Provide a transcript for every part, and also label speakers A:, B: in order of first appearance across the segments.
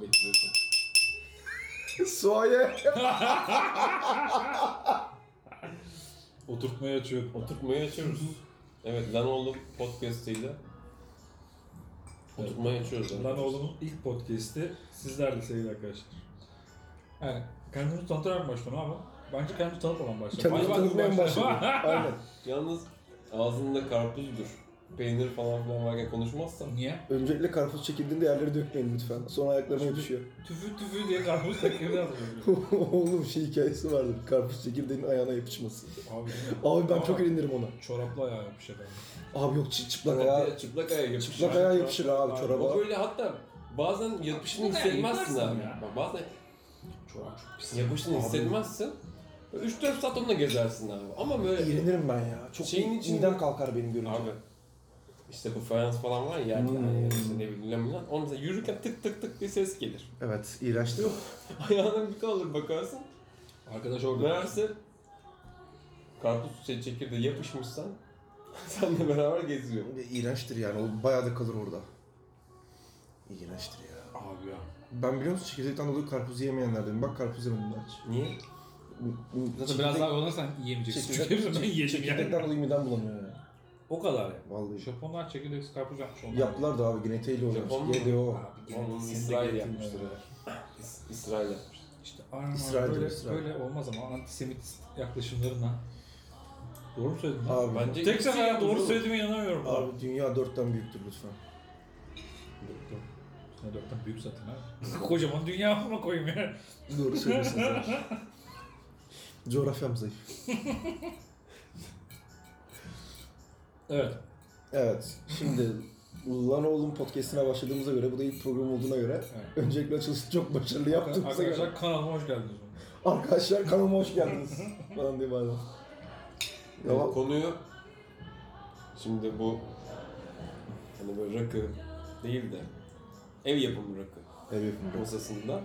A: Bekliyorsun.
B: Suaye.
C: Oturtmaya açıyorum.
A: Oturtmayı açıyoruz. Evet lan oğlum podcast'ıyla. Oturtmayı açıyoruz. evet.
C: Lan oğlumun ilk podcast'i sizlerle sevgili arkadaşlar. Yani kendini tanıtarak başlıyor ama bence kendini tanıt olan başlar.
B: Kendini
C: Hayvan gibi
B: tanıtmaya mı başladı?
C: başlar.
B: Aynen.
A: Yalnız ağzında karpuzdur. Peynir falan filan varken konuşmazsan.
C: Niye?
B: Öncelikle karpuz çekildiğinde yerlere dökmeyin lütfen. Sonra ayaklarına yapışıyor.
C: Tüfü tüfü diye karpuz tekleri atıyor.
B: Oğlum şey hikayesi vardı. Karpuz çekirdeğinin ayağına yapışması.
C: Abi,
B: Abi ben
C: Ama
B: çok ilinirim ona.
C: Çoraplı ayağı yapmış efendim.
B: Abi yok çı- çıplak
A: Ayağı,
B: ayağa.
A: çıplak ayağı yapışır.
B: Çıplak ayağa yapışır abi
C: Abi,
A: O
B: çoraba.
A: böyle hatta bazen yapışını
C: Çıplak ayağı
A: hissetmezsin
C: yaparsın
A: abi.
C: ya.
A: Bak bazen
C: Çorap çok pis.
A: yapışını
C: Abi.
A: hissetmezsin. 3-4 saat onunla gezersin abi. Ama böyle
B: İğrenirim ben ya. Çok
A: Şeyin
B: Şeyin
A: içinde-
B: midem kalkar benim görünce.
A: Abi işte bu fayans falan var ya yerken
B: Hmm.
A: yani işte ne bileyim lan lan. Onun mesela yürürken tık tık tık bir ses gelir.
B: Evet, iğrenç değil mi?
A: Ayağına bir kalır bakarsın.
C: Arkadaş orada.
A: Meğerse karpuz şey, çekirdeği yapışmışsan senle beraber geziyor.
B: İğrençtir yani. O bayağı da kalır orada. İğrençtir ya.
C: Abi ya.
B: Ben biliyor musun çekirdekten dolayı karpuz yemeyenlerdenim. Bak karpuz yemedim ben hiç.
A: Niye?
C: Zaten biraz daha olursan
B: Şey,
C: yiyemeyeceksin. Çünkü hepsini ben yiyeceğim yani.
B: Çekirdekten dolayı midem bulanıyor ya.
C: O kadar yani.
B: Vallahi.
C: Japonlar çekirdek karpuz yapmış onlar.
B: Yaptılar da abi genetiğiyle
A: Japon mu?
B: oynamış. GDO.
C: Abi
A: Onun
C: genetik
A: İsrail
C: genetik
A: yapmıştır.
C: yani.
A: İs- İsrail yapmış.
C: İşte Arman
B: İsrail'dir,
C: böyle,
B: İsrail.
C: böyle olmaz ama antisemit yaklaşımlarına. Doğru mu söyledim?
B: Abi,
A: Bence
C: Tek sefer
A: ikisi
C: doğru
A: yalnız
C: söylediğime inanamıyorum. Abi.
B: abi dünya dörtten büyüktür lütfen.
C: Ne dörtten büyük zaten abi. Kocaman dünya amına koyayım ya.
B: Doğru söylüyorsun sen. Coğrafyam zayıf.
C: Evet.
B: Evet. Şimdi Lan Oğlum podcastine başladığımıza göre, bu da ilk program olduğuna göre
C: evet.
B: öncelikle açılışı çok başarılı yaptığımıza göre
C: Arkadaşlar kanalıma hoş geldiniz.
B: arkadaşlar kanalıma hoş geldiniz falan diye bazen.
A: bu.
B: Ya,
A: Konuyu şimdi bu hani böyle rakı değil de ev yapımı rakı
B: evet,
A: masasında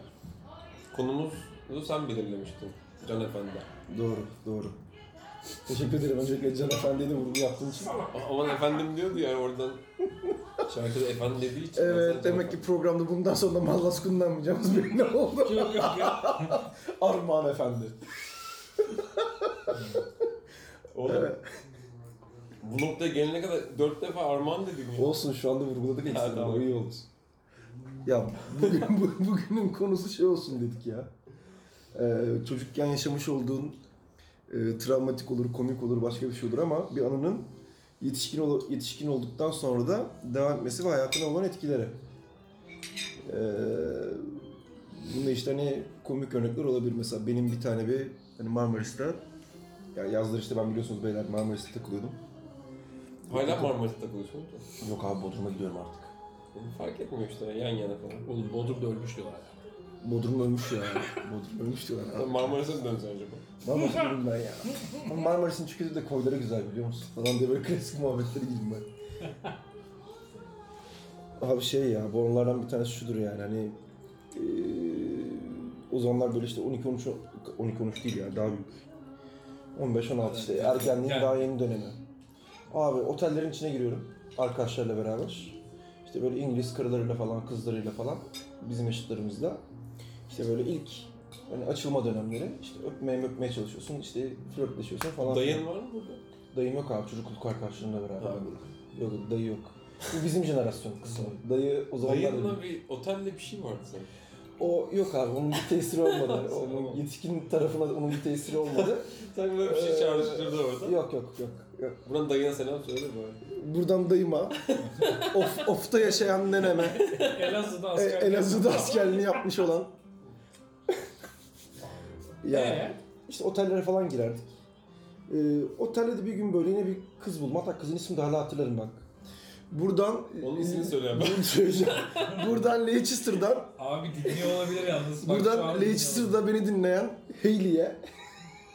A: konumuzu sen belirlemiştin Can Efendi.
B: doğru, doğru. Teşekkür ederim öncelikle Can Efendi'ye de vurgu yaptığın için.
A: A- Aman efendim diyordu yani oradan şarkıda efendim dediği için. ben sana
B: Evet,
A: Can
B: Ee, demek ki
A: Efendi-
B: programda bundan sonra mallas kullanmayacağımız belli oldu.
C: Yok yok ya.
B: Armağan Efendi.
A: Oğlum, Bu noktaya gelene kadar dört defa armağan dedim. ya.
B: Olsun şu anda vurguladık
A: Ha,
B: ekstra.
A: tamam.
B: O iyi oldu. Ya bugün, bu- bugünün konusu şey olsun dedik ya. Ee, çocukken yaşamış olduğun e, travmatik olur, komik olur, başka bir şey olur ama bir anının yetişkin ol- yetişkin olduktan sonra da devam etmesi ve hayatına olan etkileri. Ee, bunda işte hani komik örnekler olabilir. Mesela benim bir tane bir hani Marmaris'te ya yazları işte ben biliyorsunuz beyler Marmaris'te takılıyordum.
A: Hala Marmaris'te takılıyorsun. da.
B: Yok abi Bodrum'a gidiyorum artık.
A: Fark etmiyor işte yan yana falan.
C: Oğlum Bodrum'da ölmüş diyorlar ya.
B: Bodrum ölmüş ya. Bodrum ölmüş diyorlar. abi.
A: Marmaris'e mi dönsen acaba?
B: Marmaris'e dönün ben ya. Ama Marmaris'in çünkü de koyları güzel biliyor musun? Falan diye böyle klasik muhabbetlere girdim ben. Abi şey ya, bu anılardan bir tanesi şudur yani hani... eee, o zamanlar böyle işte 12-13, 12-13 değil ya daha büyük. 15-16 işte ergenliğin
C: Yani-
B: daha yeni dönemi. Abi otellerin içine giriyorum arkadaşlarla beraber. İşte böyle İngiliz karılarıyla falan, kızlarıyla falan bizim yaşıtlarımızla. İşte böyle ilk hani açılma dönemleri işte öpmeye öpmeye çalışıyorsun, işte flörtleşiyorsun falan.
A: Dayın var mı burada?
B: Dayım yok abi, çocukluk arkadaşlarımla beraber.
A: Abi.
B: Yok yok, dayı yok. Bu bizim jenerasyon kısmı. Dayı o zamanlar...
A: Dayınla bir otelde bir şey vardı sanki.
B: O yok abi, onun bir tesiri olmadı. onun
A: Tamam.
B: yetişkin tarafına onun bir tesiri olmadı.
A: Sanki böyle bir şey
B: Ee,
A: çağrıştırdı orada.
B: yok yok yok. yok.
A: Buradan dayına selam söyle bari.
B: Buradan dayıma, of, ofta yaşayan neneme,
C: Elazığ'da
B: E,
C: asker.
B: Elazığ'da askerliğini yapmış olan. ya
C: Ee?
B: işte otellere falan girerdik. Ee, otelde de bir gün böyle yine bir kız buldum. Hatta kızın ismini de hala hatırlarım bak. Buradan e,
A: Onun ismini söyle hemen.
B: Bunu söyleyeceğim. Buradan Leicester'dan,
C: Abi dinliyor olabilir yalnız. Bak, şu an
B: buradan
C: dinliyor olabilir.
B: Leicester'da beni dinleyen Hayley'e.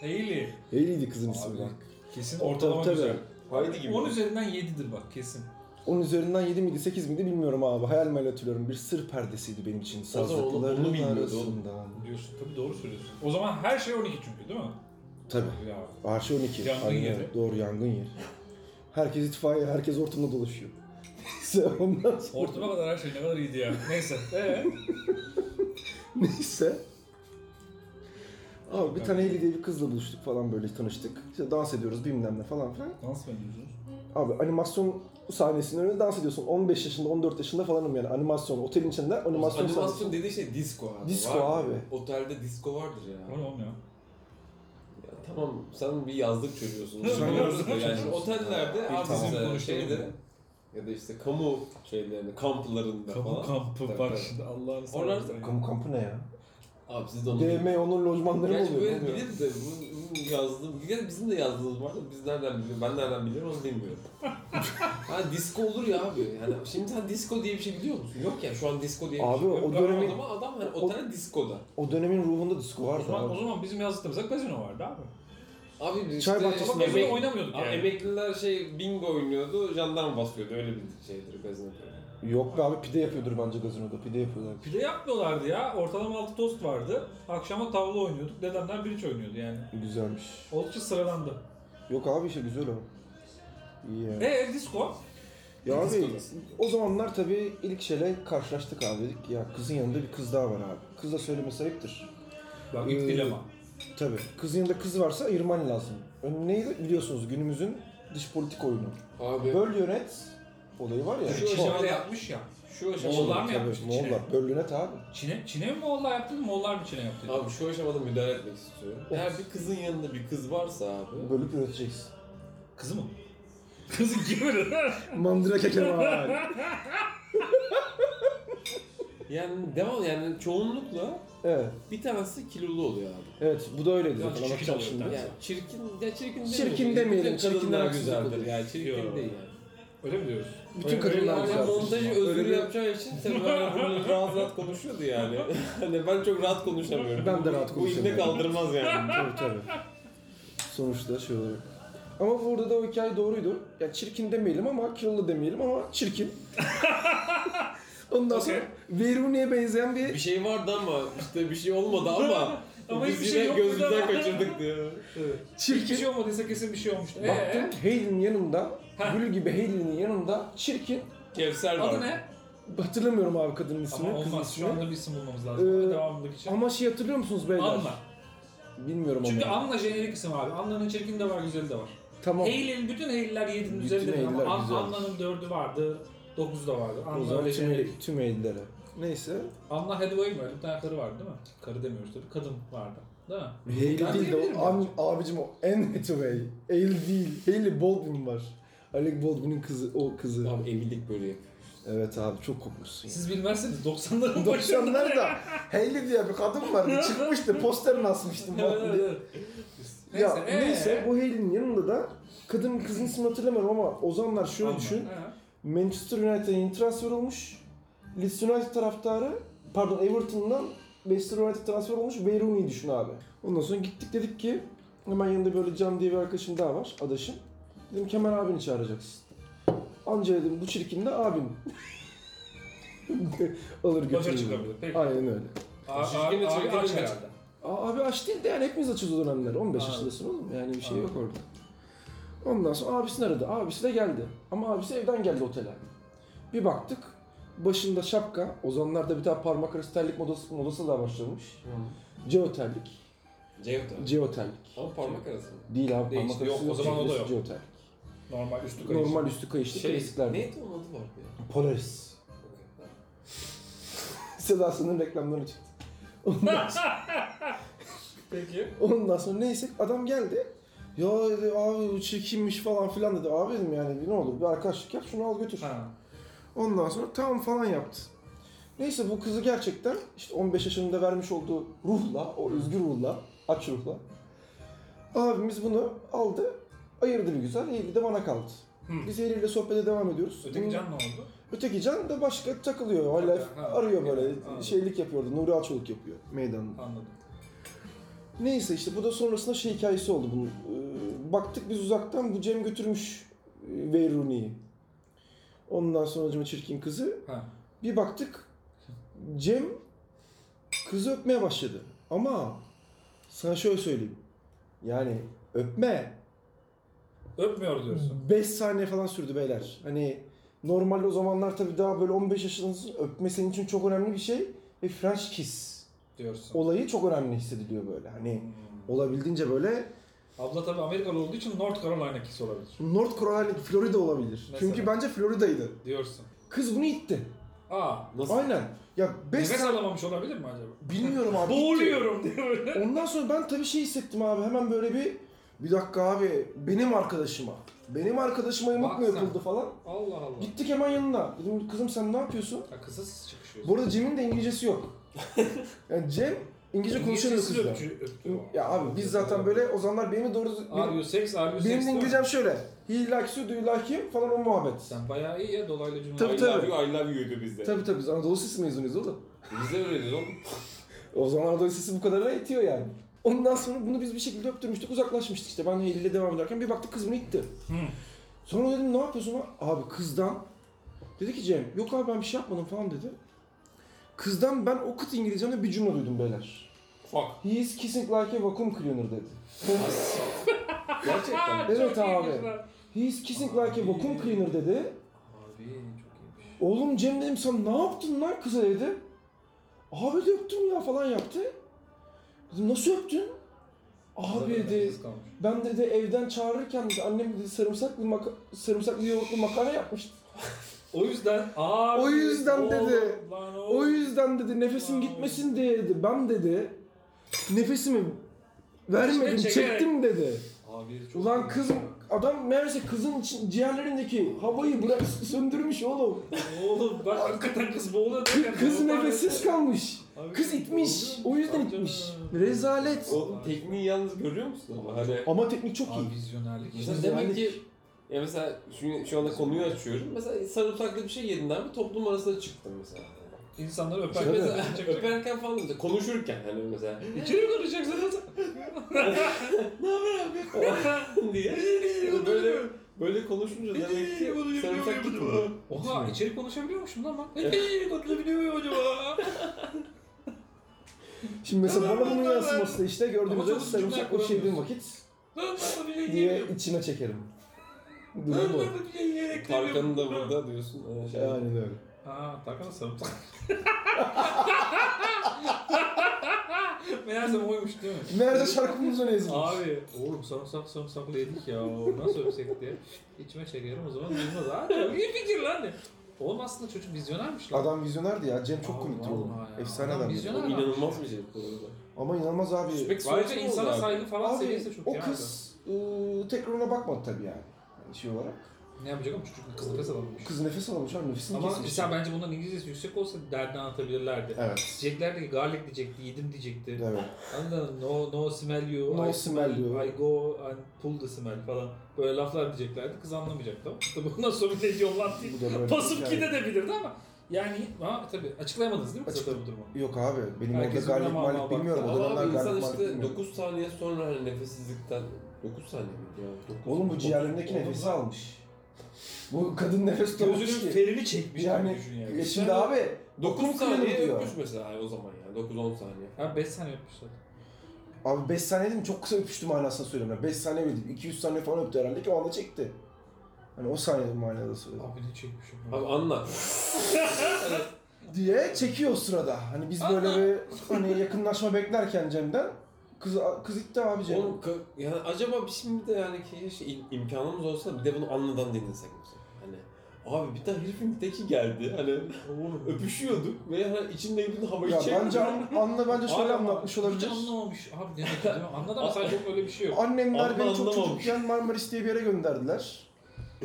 C: Hayley.
B: Hayley'di kızın ismi
C: Abi
B: bak.
C: bak, kesin ortalama
B: Tabii, tabii.
C: güzel.
A: Haydi gibi.
C: 10 üzerinden 7'dir bak kesin.
B: Onun üzerinden 7 miydi 8 miydi bilmiyorum abi. Hayal meyal hatırlıyorum. Bir sır perdesiydi benim için.
A: zaman onu- onu
B: Sazlıkların
A: bilmiyordu
B: arasında.
C: Diyorsun tabii doğru söylüyorsun. O zaman her şey 12 çünkü değil mi?
B: Tabii.
C: Ya
B: Arşi 12.
C: Yangın
B: Aynen.
C: yeri.
B: Doğru yangın yeri. Herkes itfaiye, herkes ortamda dolaşıyor. Neyse ondan sonra...
C: ortama kadar her şey ne kadar iyiydi ya. Neyse. Ee?
B: Neyse. Abi bir tane Heli diye bir kızla buluştuk falan böyle tanıştık. İşte dans ediyoruz bilmem ne falan filan.
C: Dans mı ediyorsunuz?
B: Abi animasyon sahnesinin önünde dans ediyorsun. 15 yaşında 14 yaşında falanım yani animasyon. Otelin içinde animasyon, sahnesi.
A: Animasyon dediği şey disco abi.
B: Disco
A: Vardır.
B: abi.
A: Otelde disco vardır ya.
C: Var oğlum ya.
A: Ya tamam sen bir yazlık çocuğusun.
C: Sen
A: Sen
C: yazlık
A: yazlık yani
C: çocuğusun.
A: otellerde abi
C: bizim
A: mesela
C: konuşalım
A: şeyde
C: ya.
A: ya da işte kamu şeylerinde kamplarında
C: Kamu
A: falan.
C: kampı
A: Tabii,
C: bak
A: tabii.
C: şimdi Allah'ını
A: Oralar-
C: seversen.
B: Kamu kampı ne ya?
A: Abi siz de onu bilin.
B: DM Onur lojmanları mı
A: Gerçi
B: oluyor?
A: böyle
B: Ne oluyor?
A: bilir de bu- bu yazdığım, gerçi bizim de yazdığımız var da biz nereden biliyoruz, ben nereden biliyorum onu bilmiyorum. ha disco olur ya abi. Yani şimdi sen disco diye bir şey biliyor musun? Yok ya şu an disco diye bir
B: Abi
A: şey yok.
B: o
A: Ama
B: dönemi-
A: adama adam hani otel diskoda.
B: O dönemin ruhunda disco
C: O
B: vardı
C: zaman, o
B: abi.
C: zaman bizim yazlıkta mesela gazino vardı abi.
A: Abi biz
B: Çay
A: işte
B: bahçesinde
C: Ama gazino
A: emek-
C: oynamıyorduk
A: Abi
C: yani.
A: emekliler şey bingo oynuyordu, jandarma basıyordu öyle bir şeydir gazino.
B: Yok be abi pide yapıyordur bence gazinoda. Pide yapıyorlar.
C: Pide yapmıyorlardı ya. Ortalama altı tost vardı. Akşama tavla oynuyorduk. Dedemler bridge oynuyordu yani.
B: Güzelmiş.
C: Oldukça sıralandı.
B: Yok abi işte güzel o. İyi yani.
C: Eee Ee, disco?
B: Ya
A: Kız
B: abi
A: kızı.
B: o zamanlar tabii ilk şeyle karşılaştık abi dedik. ki, Ya kızın yanında bir kız daha var abi. Kız da söylemesi ayıptır.
C: Bak
B: Ee,
C: ilk dilema.
B: Tabii. Kızın yanında kız varsa ayırman lazım. Ön neydi biliyorsunuz günümüzün dış politik oyunu.
A: Abi
B: Böl yönet olayı var ya.
A: Şu
C: Şu
B: çok-
A: aşamada-
C: aşamada yapmış ya.
A: şu aşamada
C: Moğollar mı
B: Tabii,
C: yapmış içine?
B: Moğollar. Böl yönet abi.
C: Çin'e, Çin'e mi Moğollar yaptı Moğollar mı Çin'e yaptı?
A: Abi şu aşamada müdahale etmek istiyorum. Eğer bir kızın yanında bir kız varsa abi.
B: Bölüp yöneteceksin.
C: Kızı mı? Kızı gibi.
B: Mandıra kekemal.
A: Yani devam yani çoğunlukla
B: evet.
A: bir tanesi kilolu oluyor abi.
B: Evet bu da öyleydi
C: Biraz
B: zaten
C: çirkin
B: anlatacağım
C: oluyor,
B: şimdi.
C: değil mi?
A: Yani çirkin, ya çirkin
B: Çirkin
A: demeyelim.
B: demeyelim,
A: Bütün
B: çirkinler
A: kadınlar
B: haksızlık
A: güzeldir
B: oluyor.
A: yani. Çirkin
C: Yo.
A: değil yani.
C: Öyle mi diyoruz?
B: Bütün
C: Öyle-
B: kadınlar
C: öyle-
A: Yani
B: güzel.
A: montajı
B: Öyle
A: özgür
B: bir-
A: yapacağı için tabii ben bunu rahat rahat konuşuyordu yani. hani ben çok rahat konuşamıyorum.
B: Ben de rahat
A: Bu ibne
B: konuşamıyorum.
A: kaldırmaz yani.
B: tabii tabii. Sonuçta şey olarak. Ama burada da o hikaye doğruydu. Yani çirkin demeyelim ama kilolu demeyelim ama çirkin. Ondan sonra
C: Okey.
B: Veruni'ye benzeyen bir...
A: bir şey vardı ama işte bir şey olmadı ama.
C: Ama
A: biz
C: hiçbir
A: yine
C: şey yok
A: gözümüzden
C: burada.
A: kaçırdık diyor. Evet.
C: Hiçbir
B: Çirkin.
C: şey olmadıysa kesin bir şey olmuştu.
B: Baktım
C: Eee?
B: Hayley'nin yanında,
C: Heh.
B: gül gibi Hayley'nin yanında çirkin.
A: Kevser var.
C: e, Adı ne?
B: Hatırlamıyorum abi kadının
C: Ama
B: ismini, kızın
C: olmaz. Şu
B: ismini.
C: anda bir isim bulmamız lazım.
B: Ee,
C: Devamındaki için.
B: Ama şey hatırlıyor musunuz beyler?
C: Anla.
B: Bilmiyorum
C: Çünkü
B: ama.
C: Anla jenerik isim abi. Anla'nın çirkin de var, güzeli de var.
B: Tamam.
C: Heylin, bütün Heyliler 7'nin
B: Bütün
C: üzerinde
B: Heyliler
C: ama An-
B: güzel.
C: Anla'nın 4'ü vardı. 9 da vardı.
B: o
C: Anla
B: zaman
C: öyle
B: tüm,
C: jenerik.
B: el- tüm ellere. Neyse.
C: Anla Hathaway mi? Öyle bir tane karı vardı değil mi? Karı demiyoruz tabii. Kadın vardı. Değil mi?
B: Hayley
C: Ben
B: değil de
C: diyebilirim
B: o, an, abicim o Anne Hathaway. Hayley değil. Hayley Baldwin var. Alec Baldwin'in kızı, o kızı.
A: Abi evlilik böyle yapıyor.
B: Evet abi çok kokmuşsun.
C: Siz bilmezsiniz 90'ların başında.
B: 90'larda Hayley diye bir kadın vardı. Çıkmıştı posterini asmıştım.
C: Evet,
B: falan diye.
C: evet, evet.
B: ya
C: Neyse, ee?
B: neyse bu Hayley'nin yanında da kadın kızın ismini hatırlamıyorum ama o zamanlar şöyle
C: Anla.
B: düşün.
C: Ha.
B: Manchester United'a yeni transfer olmuş. Leeds United taraftarı, pardon Everton'dan Manchester United transfer olmuş. Wayne Rooney'i düşün abi. Ondan sonra gittik dedik ki hemen yanında böyle Can diye bir arkadaşım daha var, adaşım. Dedim ki hemen abini çağıracaksın. Anca dedim bu çirkin de abin. Alır
C: Başa
B: götürür.
C: çıkabilir. Peki.
B: Aynen öyle.
C: Aa,
A: Çirkin de
C: aa,
A: çirkin
C: abi aç
A: de-
C: herhalde.
B: Aa, abi aç değil de yani hepimiz açız o dönemler. 15
C: Abi.
B: yaşındasın oğlum yani bir şey
C: Abi.
B: yok orada. Ondan sonra abisini aradı. Abisi de geldi. Ama abisi evden geldi otele. Bir baktık. Başında şapka. O zamanlarda bir tane parmak arası terlik modası, modası daha başlamış. Geoterlik.
A: Cevdet abi.
B: Geoterlik.
A: Ama parmak arası mı?
B: Değil abi
A: Değil,
B: parmak
A: işte
B: arası
A: yok, o zaman o da
B: geoterlik.
A: yok.
B: Geoterlik.
C: Normal üstü kayış.
B: Normal üstü kayışlı
A: Şey,
B: klasikler.
A: neydi onun adı vardı ya?
B: Polaris. Sedasının reklamları çıktı.
C: Peki.
B: Ondan sonra neyse adam geldi. Ya dedi, abi bu çirkinmiş falan filan dedi. Abi dedim yani ne olur bir arkadaşlık yap şunu al götür.
C: Ha.
B: Ondan sonra tamam falan yaptı. Neyse bu kızı gerçekten işte 15 yaşında vermiş olduğu ruhla, o özgür ruhla, aç ruhla. Abimiz bunu aldı, ayırdı bir güzel. Eylül de bana kaldı.
C: Hı.
B: Biz Eylül'le sohbete devam ediyoruz.
C: Öteki
B: Bunun-
C: can ne oldu?
B: Öteki Can da başka takılıyor. Hala
C: Ha, ha,
B: arıyor böyle.
C: anladım.
B: Şeylik yapıyordu. Nuri Alçoluk yapıyor meydanda.
C: Anladım.
B: Neyse işte bu da sonrasında şey hikayesi oldu bunun. Ee, baktık biz uzaktan bu Cem götürmüş e, Veyruni'yi. Ondan sonra acıma çirkin kızı.
C: Ha.
B: Bir baktık Cem kızı öpmeye başladı. Ama sana şöyle söyleyeyim. Yani öpme
C: Öpmüyor diyorsun.
B: 5 saniye falan sürdü beyler. Hani normalde o zamanlar tabii daha böyle 15 yaşındasın. Öpme senin için çok önemli bir şey. Ve French kiss.
C: diyorsun. Hmm.
B: olayı çok önemli hissediliyor böyle. Hani olabildiğince böyle
C: Abla tabii Amerikalı olduğu için North Carolina kisi olabilir
B: North Carolina, Florida olabilir.
C: Mesela.
B: Çünkü bence Florida'ydı.
C: diyorsun.
B: Kız bunu itti.
C: Aa,
A: Nasıl?
B: Aynen. Ya 5
C: nefes alamamış olabilir mi acaba?
B: bilmiyorum abi. itti.
C: Boğuluyorum diye böyle.
B: Ondan sonra ben tabii şey hissettim abi. Hemen böyle bir bir dakika abi benim arkadaşıma. Benim arkadaşıma yamuk mu
C: Bak sen.
B: yapıldı falan.
C: Allah Allah.
B: Gittik hemen yanına. Dedim kızım sen ne yapıyorsun?
C: Ya kısa siz çıkışıyorsun.
B: Bu arada Cem'in de İngilizcesi yok. Yani Cem İngilizce konuşan
C: İngilizcesi
B: kızla.
C: öpücü- öptü o.
B: Ya abi biz zaten böyle o zamanlar benim de doğru...
C: Are you sex, are you sex
B: Benim de
C: diyor.
B: İngilizcem şöyle. He likes you, do you like him falan o muhabbet.
C: Sen bayağı iyi ya dolaylı cümle.
B: Tabii,
A: I
B: tabii.
A: love you, I love you diyor bizde.
B: Tabii tabii biz Anadolu Lisesi mezunuyuz oğlum.
A: Bizde öyle diyor oğlum.
B: O zaman Anadolu Lisesi bu kadarına itiyor yani. Ondan sonra bunu biz bir şekilde öptürmüştük uzaklaşmıştık işte. Ben Eylül'e devam ederken bir baktık kız bunu itti.
C: Hı.
B: Sonra dedim ne yapıyorsun? lan?" Abi kızdan dedi ki Cem yok abi ben bir şey yapmadım falan dedi. Kızdan ben o kıt İngilizcemde bir cümle duydum beyler.
A: Fuck.
B: He is kissing like a vacuum cleaner dedi.
A: Gerçekten.
C: Çok
B: Evet
C: iyi
B: abi.
C: kızlar.
B: He is kissing like a vacuum cleaner dedi.
C: Abi çok iyiymiş.
B: Oğlum Cem dedim sen ne yaptın lan kıza dedi. Abi de öptüm ya falan yaptı. Dedim nasıl öptün? Abi
C: Kızlar
B: dedi
C: nefessiz kalmış.
B: ben dedi evden çağırırken dedi, annem dedi sarımsaklı, maka- sarımsaklı yoğurtlu makarna yapmıştı.
C: O yüzden abi.
B: O yüzden
C: oğlum,
B: dedi.
C: Lan
B: O
C: oğlum.
B: yüzden dedi nefesim gitmesin diye dedi. Ben dedi nefesimi vermedim
C: İçine çekerek.
B: çektim dedi.
A: Abi çok
B: Ulan
A: iyi.
B: kız adam meğerse kızın için ciğerlerindeki havayı bırak söndürmüş oğlum.
C: Oğlum bak hakikaten kız boğuluyor. derken
B: Kız
C: boğulma
B: nefessiz
A: şey.
C: nefesi.
B: kalmış.
C: Abi,
B: Kız itmiş. O yüzden
C: Tabii
B: itmiş.
C: canım.
B: Rezalet.
A: O tekniği yalnız görüyor musun ama hani
B: Ama teknik çok
C: Abi
B: iyi.
C: vizyonerlik.
A: İşte
B: Biz
A: demek
B: yani-
A: ki ya mesela şu, şu anda konuyu açıyorum. Mesela sarımsaklı bir şey yedin abi toplum arasına çıktın mesela.
C: İnsanları
A: Bak
C: öperken
A: mesela
C: zaten çekecek.
A: öperken falan mesela konuşurken hani mesela
C: İçeri mi konuşacaksın?
A: diye böyle böyle konuşunca demek ki sarımsak gitmiyor.
C: Oha içeri konuşabiliyormuşum lan bak.
A: Evet.
C: İçeri konuşabiliyor muyum acaba?
B: Şimdi mesela bana bunun
C: Ama
B: yansıması da işte
C: çok
B: gördüğümüzde
C: üzücü
B: sarımsaklı bir şey yediğim
C: kuramıyorsun.
B: vakit
C: Lan nasıl bir şey
B: diye
C: diyemiyorum.
B: içime çekerim.
C: Lan
B: Durum bu.
C: nasıl bir şey diyemiyorum.
A: Tarkan'ın da burada diyorsun. Ee, şey,
B: Aynen öyle.
C: Aa Tarkan'a sarımsak. Meğerse oymuş değil mi?
B: Nerede şarkımız öne yazılmış?
C: Abi oğlum sarımsak sarımsaklı yedik ya nasıl öpsek diye. İçime çekerim o zaman bilmez. Aa çok iyi fikir lan de. Oğlum aslında çocuk vizyonermiş lan.
B: Adam vizyonerdi ya. Cem çok
C: Abi
B: komikti
C: vallahi
B: oğlum.
C: ya.
B: Efsane
C: Adam
B: adam.
A: o
C: vizyoner.
A: inanılmaz bir şey bu arada.
B: Ama inanılmaz abi.
C: Ayrıca
A: Peki sonuçta ne
C: insana
A: oldu abi?
C: saygı falan
B: Abi
C: seviyesi çok
B: o
C: iyi
B: kız ıı, tekrar ona bakmadı tabii yani. Yani şey olarak.
C: abi. Ne yapacak oğlum çocuk kız nefes alamamış.
B: Kız nefes alamış abi nefesini
C: Ama
B: kesmiş.
C: mesela bence bunların İngilizcesi yüksek olsa derdini anlatabilirlerdi.
B: Evet.
C: Diyeceklerdi ki garlic diyecekti, yedim diyecekti.
B: Evet.
C: Anladın mı? No, no smell you,
B: No
C: I
B: smell you.
C: I go and pull the smell falan. Böyle laflar diyeceklerdi. Kız anlamayacak tamam. Tabii bundan sonra ne diyor lan diye.
B: Bu da böyle.
C: Pasıp
B: Yani-
C: gide de bilirdi ama. Yani ama tabii açıklayamadınız değil mi kısa
B: Açıkla-
C: tabii bu durumu?
B: Yok abi. Benim orada
C: Herkes
B: garlic
C: bilemem ama
B: malik
C: bak.
B: bilmiyorum. O
A: Ama
B: dönemler
A: abi insan
B: garlic malik
A: işte
B: bilmiyorum.
A: 9 saniye sonra hani nefessizlikten 9 saniye mi? Ya, dokuz-
B: Oğlum bu
A: dokuz-
B: ciğerindeki
A: Oğlum
B: nefesi
A: lan.
B: almış. Bu kadın nefes tutamamış
C: Gözünün
B: ki.
C: ferini çekmiş yani,
B: Yani,
C: düşün yani.
B: e şimdi abi
A: 9
B: dokuz kilo
A: saniye
B: diyor.
A: öpmüş mesela yani o zaman yani 9-10 saniye.
C: Ha 5 saniye yapmışlar.
B: Abi 5 saniye dedim çok kısa öpüştü manasını söylüyorum. 5 saniye mi dedim? 200 saniye falan öptü herhalde ki o anda çekti. Hani o saniye manada söylüyorum.
C: Abi ne çekmişim ya.
A: Abi anla.
B: Diye çekiyor o sırada. Hani biz böyle bir hani yakınlaşma beklerken Cem'den kız kız itti abi Cem.
A: Oğlum ka- yani acaba biz şimdi de yani keşke im- imkanımız olsa bir de bunu anladan dinlesek mesela. Hani abi bir tane herifin teki geldi. Hani
C: Oğlum
A: öpüşüyorduk ve hani içinde bütün havayı
B: ya
A: çekti.
B: bence an, anla bence
C: Abi,
B: şöyle anlatmış
C: Hiç
B: olabilir.
C: anlamamış. Abi ne demek değil mi? Anladı ama sadece öyle bir şey yok.
B: Annemler
A: Anla
B: beni çok
A: anlamamış.
B: çocukken Marmaris diye bir yere gönderdiler.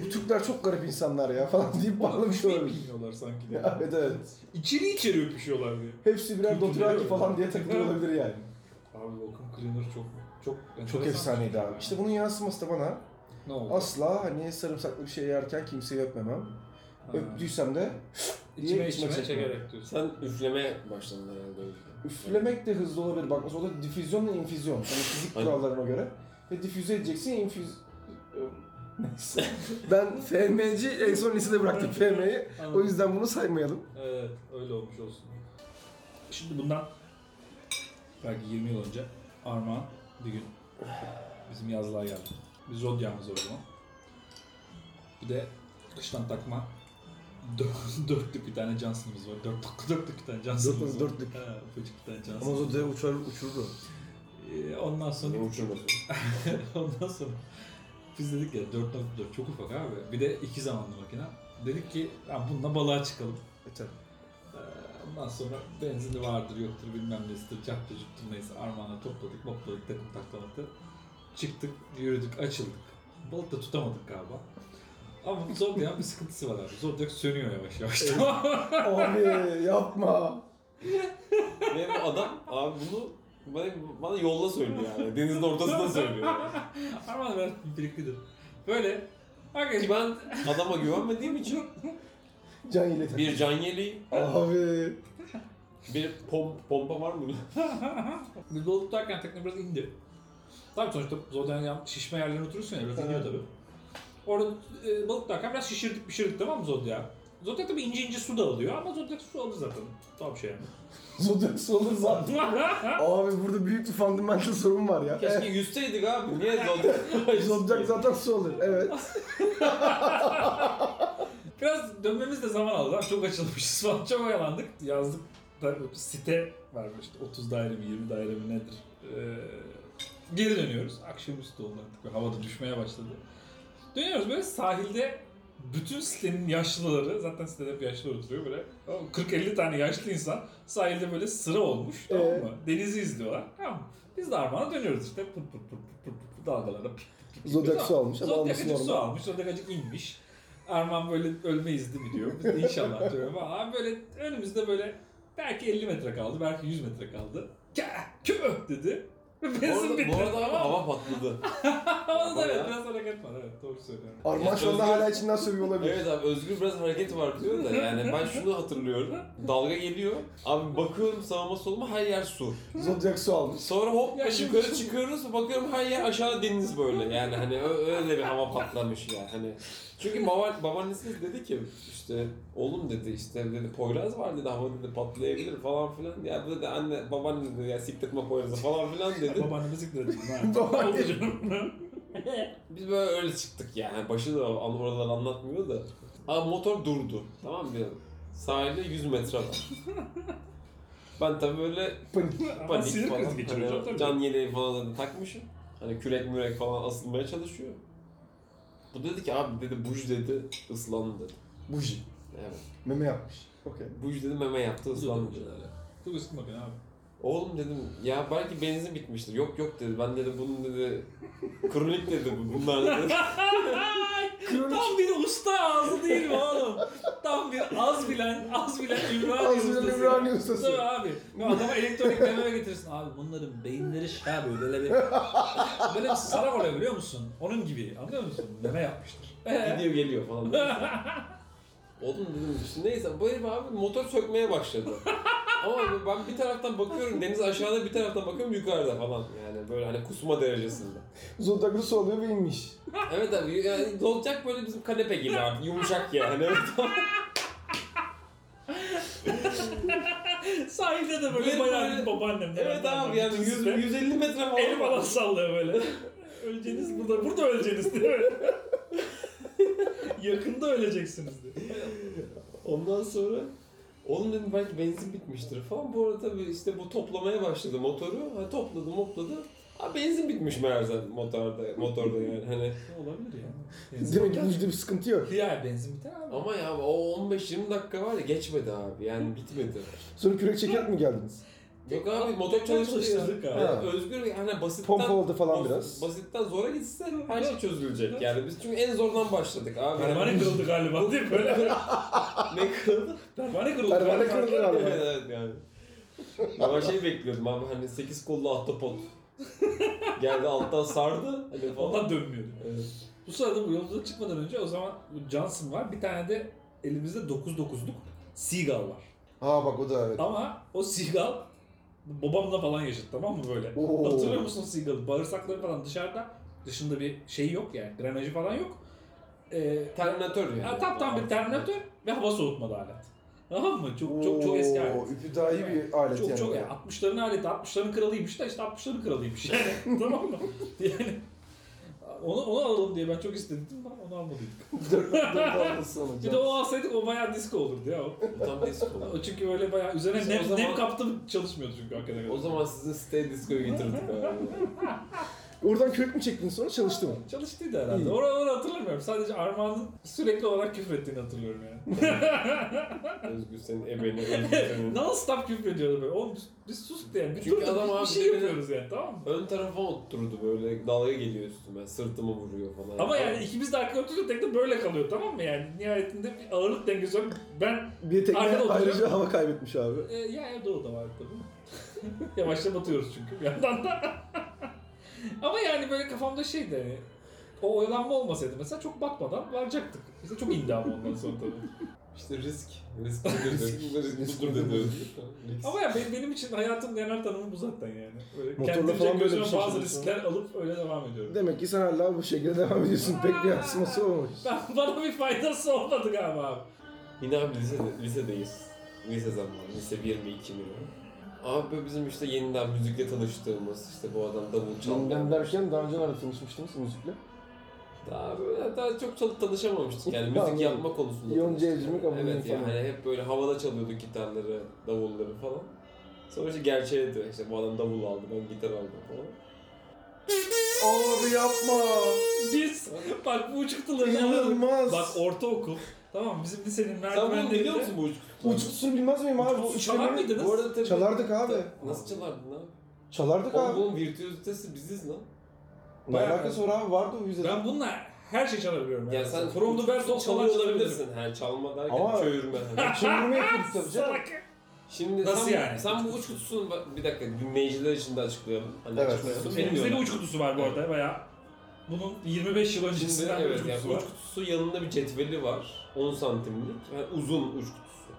B: Bu Türkler çok garip insanlar ya falan deyip
C: Oğlum,
B: bağlamış
C: öpüşmeyi
B: olabilir.
C: bilmiyorlar sanki. de.
B: evet evet.
C: İçeri içeri öpüşüyorlar diye.
B: Hepsi birer
C: Kültürleri
B: Dothraki
C: öyle.
B: falan diye takılıyor olabilir yani.
C: Abi Okum Cleaner çok çok
B: Çok
C: enteresan
B: efsaneydi
C: bir şey
B: abi.
C: ya.
B: İşte bunun yansıması da bana
C: ne oldu?
B: Asla hani sarımsaklı bir şey yerken kimseyi öpmemem.
C: Ha.
B: Öptüysem de
C: İçime
B: Niye
C: içime
B: içime çekmiyor?
C: çekerek diyorsun.
A: Sen üflemeye başladın herhalde. öyle.
B: üflemek de hızlı olabilir. Bak mesela o da difüzyon ve infüzyon. Hani fizik
A: Aynen.
B: kurallarına göre. Ve difüze edeceksin infüz... Neyse. ben FM'ci en son lisede bıraktım FM'yi. O
C: Anladım.
B: yüzden bunu saymayalım.
C: Evet öyle olmuş olsun. Şimdi bundan belki 20 yıl önce Armağan bir gün bizim yazlığa geldi. Bir zodyamız var o zaman. Bir de kıştan takma dört, dörtlük bir tane Johnson'ımız var. Dört, dörtlük bir tane Johnson'ımız var.
B: dörtlük.
C: He, ufacık bir tane
B: Ama
C: Johnson'ımız
B: o
C: var.
B: da uçar, uçurur o.
C: Ee, ondan sonra
A: Ne uçurmasın.
C: Ondan sonra biz dedik ya 4.4 çok ufak abi. Bir de iki zamanlı makine. Dedik ki ya bununla balığa çıkalım.
B: E tabii.
C: Ee, Ondan sonra benzini vardır yoktur bilmem nesidir. Capta cuptur neyse armağana topladık mopladık takım taklamakta. Çıktık yürüdük açıldık. Balık da tutamadık galiba. Ama Zodiac'ın bir sıkıntısı var abi. Zodiac sönüyor yavaş yavaş.
B: Abi yapma.
A: Ve bu adam abi bunu bana, bana yolla söylüyor yani. Denizin ortasında söylüyor.
C: Armağan biraz biriklidir. Böyle. Arkadaşlar
A: Ki ben adama güvenmediğim için
B: Can ile
A: bir can yeleği,
B: Abi.
A: bir pom, pompa var mı?
C: Biz balık tutarken tekne biraz indi. Tabii sonuçta zaten yan- şişme yerlerine oturursun ya biraz
B: Evet.
C: iniyor tabii. Orada e, balık tutarken biraz şişirdik pişirdik tamam mı Zodya? Zodya tabii ince ince su da alıyor ama Zodya su alır zaten. Tam şey
B: Zodyak olur zaten.
C: yani.
B: Abi burada büyük bir fundamental sorun var ya.
A: Keşke yüzseydik abi. Niye zor?
B: Evet, Zodyak zaten su olur. Evet.
C: biraz dönmemiz de zaman aldı. Abi Çok açılmışız falan çok oyalandık. Yazdık da site varmış işte 30 daire mi 20 daire mi nedir? Ee, geri dönüyoruz. Akşamüstü oldu artık. Böyle Havada düşmeye başladı. Dönüyoruz böyle sahilde bütün sitenin yaşlıları, zaten sitede hep yaşlı oturuyor böyle. Tamam mı? 40-50 tane yaşlı insan sahilde böyle sıra olmuş tamam
B: Ee?
C: mı? Denizi izliyorlar. Tamam mı? Biz de armağana dönüyoruz işte. Pır pır pır pır pır pır dalgalara. pip pip pip pip.
B: Zodiac su almış ama
C: Zodiac
B: alması
C: acık su
B: normal.
C: almış. Zodiac acık inmiş. Arman böyle ölmeyiz değil mi diyor. Biz de inşallah diyor. Valla böyle önümüzde böyle belki 50 metre kaldı. Belki 100 metre kaldı. Kö kö dedi.
A: Bu
C: Benzin
A: arada,
C: bitti.
A: bu arada abi
C: tamam mı?
A: hava patladı.
C: Ama da evet
A: bayağı-
C: biraz hareket var. Evet doğru söylüyorum.
B: Arman şu anda hala içinden sövüyor olabilir.
A: Evet abi Özgür biraz hareket var diyor da yani ben şunu hatırlıyorum. Dalga geliyor. Abi bakıyorum sağıma soluma her yer su.
B: Zodyak su almış.
A: Sonra hop
C: Ya şimdi-
A: yukarı çıkıyoruz bakıyorum her yer aşağı deniz böyle yani hani ö- öyle bir hava patlamış yani hani. Çünkü baba, babaannesiniz dedi ki işte oğlum dedi işte dedi Poyraz var dedi hava dedi patlayabilir falan filan. Ya dedi anne babaanne dedi ya siktirtme Poyraz'ı falan filan dedi.
C: Babaannemi zikredin. ha.
B: Babaanne.
C: Oldu canım.
A: Biz böyle öyle çıktık yani başı da an- oraları anlatmıyor da. Abi motor durdu tamam mı? Sahilde 100 metre var. Ben tabii böyle
B: Panik.
C: Ama
A: panik
C: sinir
A: falan.
C: krizi geçiriyor
A: Hani
C: canım tabii.
A: Can yeleği falan hani takmışım. Hani kürek mürek falan asılmaya çalışıyor. Bu dedi ki abi dedi buj dedi ıslandı dedi.
B: Buji.
A: Evet.
B: Meme yapmış. Okey.
A: Buj dedi meme yaptı ıslandı dedi.
C: Çok eski makine abi.
A: Oğlum dedim ya belki benzin bitmiştir. Yok yok dedi. Ben dedi bunun dedi kronik dedi bu- bunlar dedi.
C: Tam bir usta ağzı değil mi oğlum? Tam bir az bilen, az bilen Ümraniye
B: Az
C: ustası.
B: bilen Ümraniye ustası.
C: Tabii abi. Ya adama elektronik demeye getirsin. Abi bunların beyinleri şey abi böyle bir... Böyle bir sarak oluyor biliyor musun? Onun gibi anlıyor musun? Meme yapmıştır. Ee,
A: Gidiyor geliyor falan. Oğlum dedim işte neyse bu herif abi motor sökmeye başladı. Ama ben bir taraftan bakıyorum deniz aşağıda bir taraftan bakıyorum yukarıda falan. Yani böyle hani kusma derecesinde.
B: Zodyak su alıyor ve inmiş.
A: Evet abi yani dolacak böyle bizim kanepe gibi abi yumuşak yani. Evet, tamam.
C: sahilde de böyle
A: Böyle-
C: bayağı bir
A: böyle-
C: babaannem.
A: evet abi yani 100, 150 metre falan.
C: Elim falan sallıyor böyle. öleceğiniz burada, burada öleceğiniz diye böyle. Yakında öleceksiniz diye.
A: Ondan sonra oğlum dedim belki benzin bitmiştir falan. Bu arada tabii işte bu toplamaya başladı motoru. Ha, topladı mopladı. Ha, benzin bitmiş meğerse motorda, motorda yani hani.
C: Olabilir ya.
B: Demek ki bujide bir sıkıntı yok.
C: Diğer benzin biter abi.
A: Ama ya o 15-20 dakika var ya geçmedi abi yani bitmedi.
B: Sonra kürek çekerek mi geldiniz?
A: Yok abi motor çalıştı ya.
C: Çalıştırdık abi.
A: Yani Özgür yani basitten
B: Pompaladı falan biraz.
A: Basitten zora gitse her şey çözülecek yani. Biz çünkü en zordan başladık abi.
C: Pervane kırıldı galiba değil mi? Böyle
A: ne kırıldı?
C: pervane kırıldı.
B: Pervane
C: galiba.
B: kırıldı
A: evet
B: galiba.
A: evet yani. Ya ben şey bekliyordum abi hani 8 kollu ahtapot. Geldi alttan sardı hani falan.
C: Ondan dönmüyordu.
A: Evet.
C: Bu sırada bu yolculuğa çıkmadan önce o zaman bu Johnson var. Bir tane de elimizde 9.9'luk Seagull var.
B: Ha bak o da evet.
C: Ama o Seagull babamla falan yaşadı tamam mı böyle?
B: Oo.
C: Hatırlıyor musun Seagull'ı? Bağırsakları falan dışarıda. Dışında bir şey yok yani. Drenajı falan yok. Ee,
A: Terminatör yani.
C: ha, tam tam bir terminatör ve hava soğutmalı alet. Tamam mı? Çok çok çok eski alet.
B: Oo, Üpüdahi bir alet
C: çok
B: yani.
C: çok yani 60'ların aleti 60'ların kralıymış da işte 60'ların kralıymış yani tamam mı? Yani Onu, onu alalım diye ben çok istedim ama onu almadık.
B: Dört dört sonra.
C: Bir de o alsaydık o bayağı disco olurdu ya. O.
A: Bu tam disco.
C: O çünkü böyle bayağı üzerine
A: Biz
C: ne,
A: o zaman-
C: nem kaptım çalışmıyordu çünkü hakikaten.
A: O zaman sizi stay disco'ya getirdik abi.
B: Oradan kürek mi çektin sonra çalıştı mı?
C: Çalıştıydı herhalde.
B: İyi.
C: Oraları hatırlamıyorum. Sadece Armağan'ın sürekli olarak küfür ettiğini hatırlıyorum yani.
A: Özgür senin ebeni, Özgür senin.
C: non stop küfür ediyordu böyle. Oğlum bir sus diye. Bir
A: Çünkü
C: dur da
A: adam
C: bir,
A: abi
C: bir şey
A: demedi.
C: yapıyoruz yani tamam mı?
A: Ön tarafa oturdu böyle dalga geliyor üstüme sırtıma vuruyor falan.
C: Ama yani ikimiz de arkada oturuyoruz tek de böyle kalıyor tamam mı yani? Nihayetinde bir ağırlık dengesi var. Ben
B: Bir de tekne
C: Arkada oturuyor.
B: ayrıca hava kaybetmiş abi.
C: e, ya evde o da var tabii. Yavaşça batıyoruz çünkü bir yandan da. Ama yani böyle kafamda şeydi hani. O oyalanma olmasaydı mesela çok batmadan varacaktık. Mesela çok indi ama ondan sonra tabii.
A: İşte risk. Risk budur dedi.
B: Risk
A: Budur
B: budur.
A: dedi.
C: Ama ya benim, benim için hayatımın genel tanımı bu zaten yani. Böyle
B: Motorla
C: kendimce
B: falan böyle bir
C: gözüme
B: şey
C: bazı
B: yapıyorsun.
C: riskler alıp öyle devam ediyorum.
B: Demek ki sen hala bu şekilde devam ediyorsun. Pek bir yansıması olmamış.
C: Ben, bana bir faydası olmadı galiba abi.
A: Yine abi lisede, lisedeyiz. Lise zamanı. Lise 1 mi 2 mi? ne? Abi böyle bizim işte yeniden müzikle tanıştığımız işte bu adam davul
B: Yeniden
A: çaldı.
B: derken daha önce nerede tanışmıştınız müzikle?
A: Daha böyle daha çok çalıp tanışamamıştık yani
B: Tamam.
A: müzik yapma konusunda.
B: Yonca
A: tanıştık.
B: Evcimik, Abul'un
A: Evet yani
B: falan.
A: hep böyle havada çalıyorduk gitarları, davulları falan. Sonra işte gerçeğe dönüyor. İşte bu adam davul aldı, ben gitar aldım falan.
B: Abi yapma.
C: Biz bak bu uçuktuları alalım.
B: İnanılmaz.
C: Bak ortaokul. Tamam mı? bizim lisenin
A: Sen bunu
C: merdivenlerinde.
A: biliyor musun bu uç?
B: Uçkusunu bilmez miyim abi? Bu
C: Uçkusu
B: üçlemeyi-
C: çalar mıydınız?
A: Bu arada tabii...
B: Çalardık abi.
A: Nasıl çalardın abi?
B: Çalardık
A: Oğlum
B: abi.
A: bunun virtüözitesi biziz lan.
B: Ne
C: bayağı-
B: alakası var abi? Vardı o bize.
C: Ben bununla her şey çalabiliyorum.
A: Ya sen
C: From the Bertol falan
A: çalıyor
C: çalabilirsin.
A: olabilirsin. Ha, çalma derken
B: Ama-
A: çövürme. hani.
B: Çevirme yapıyorduk tabii canım.
C: Salak.
A: Şimdi
C: Nasıl
A: sen,
C: yani?
A: Sen bu uç kutusunu bak- bir dakika dinleyiciler için de açıklayalım. Hani
B: Evet.
A: açıklayalım.
C: Elimizde bir
A: Bilmiyorlar.
C: uç kutusu var bu arada bayağı. Bunun 25 yıl
A: Şimdi
C: öncesinden bir
A: evet
C: uç
A: yani
C: kutusu
A: uç
C: var.
A: kutusu yanında bir cetveli var. 10 santimlik. Yani uzun uç kutusu.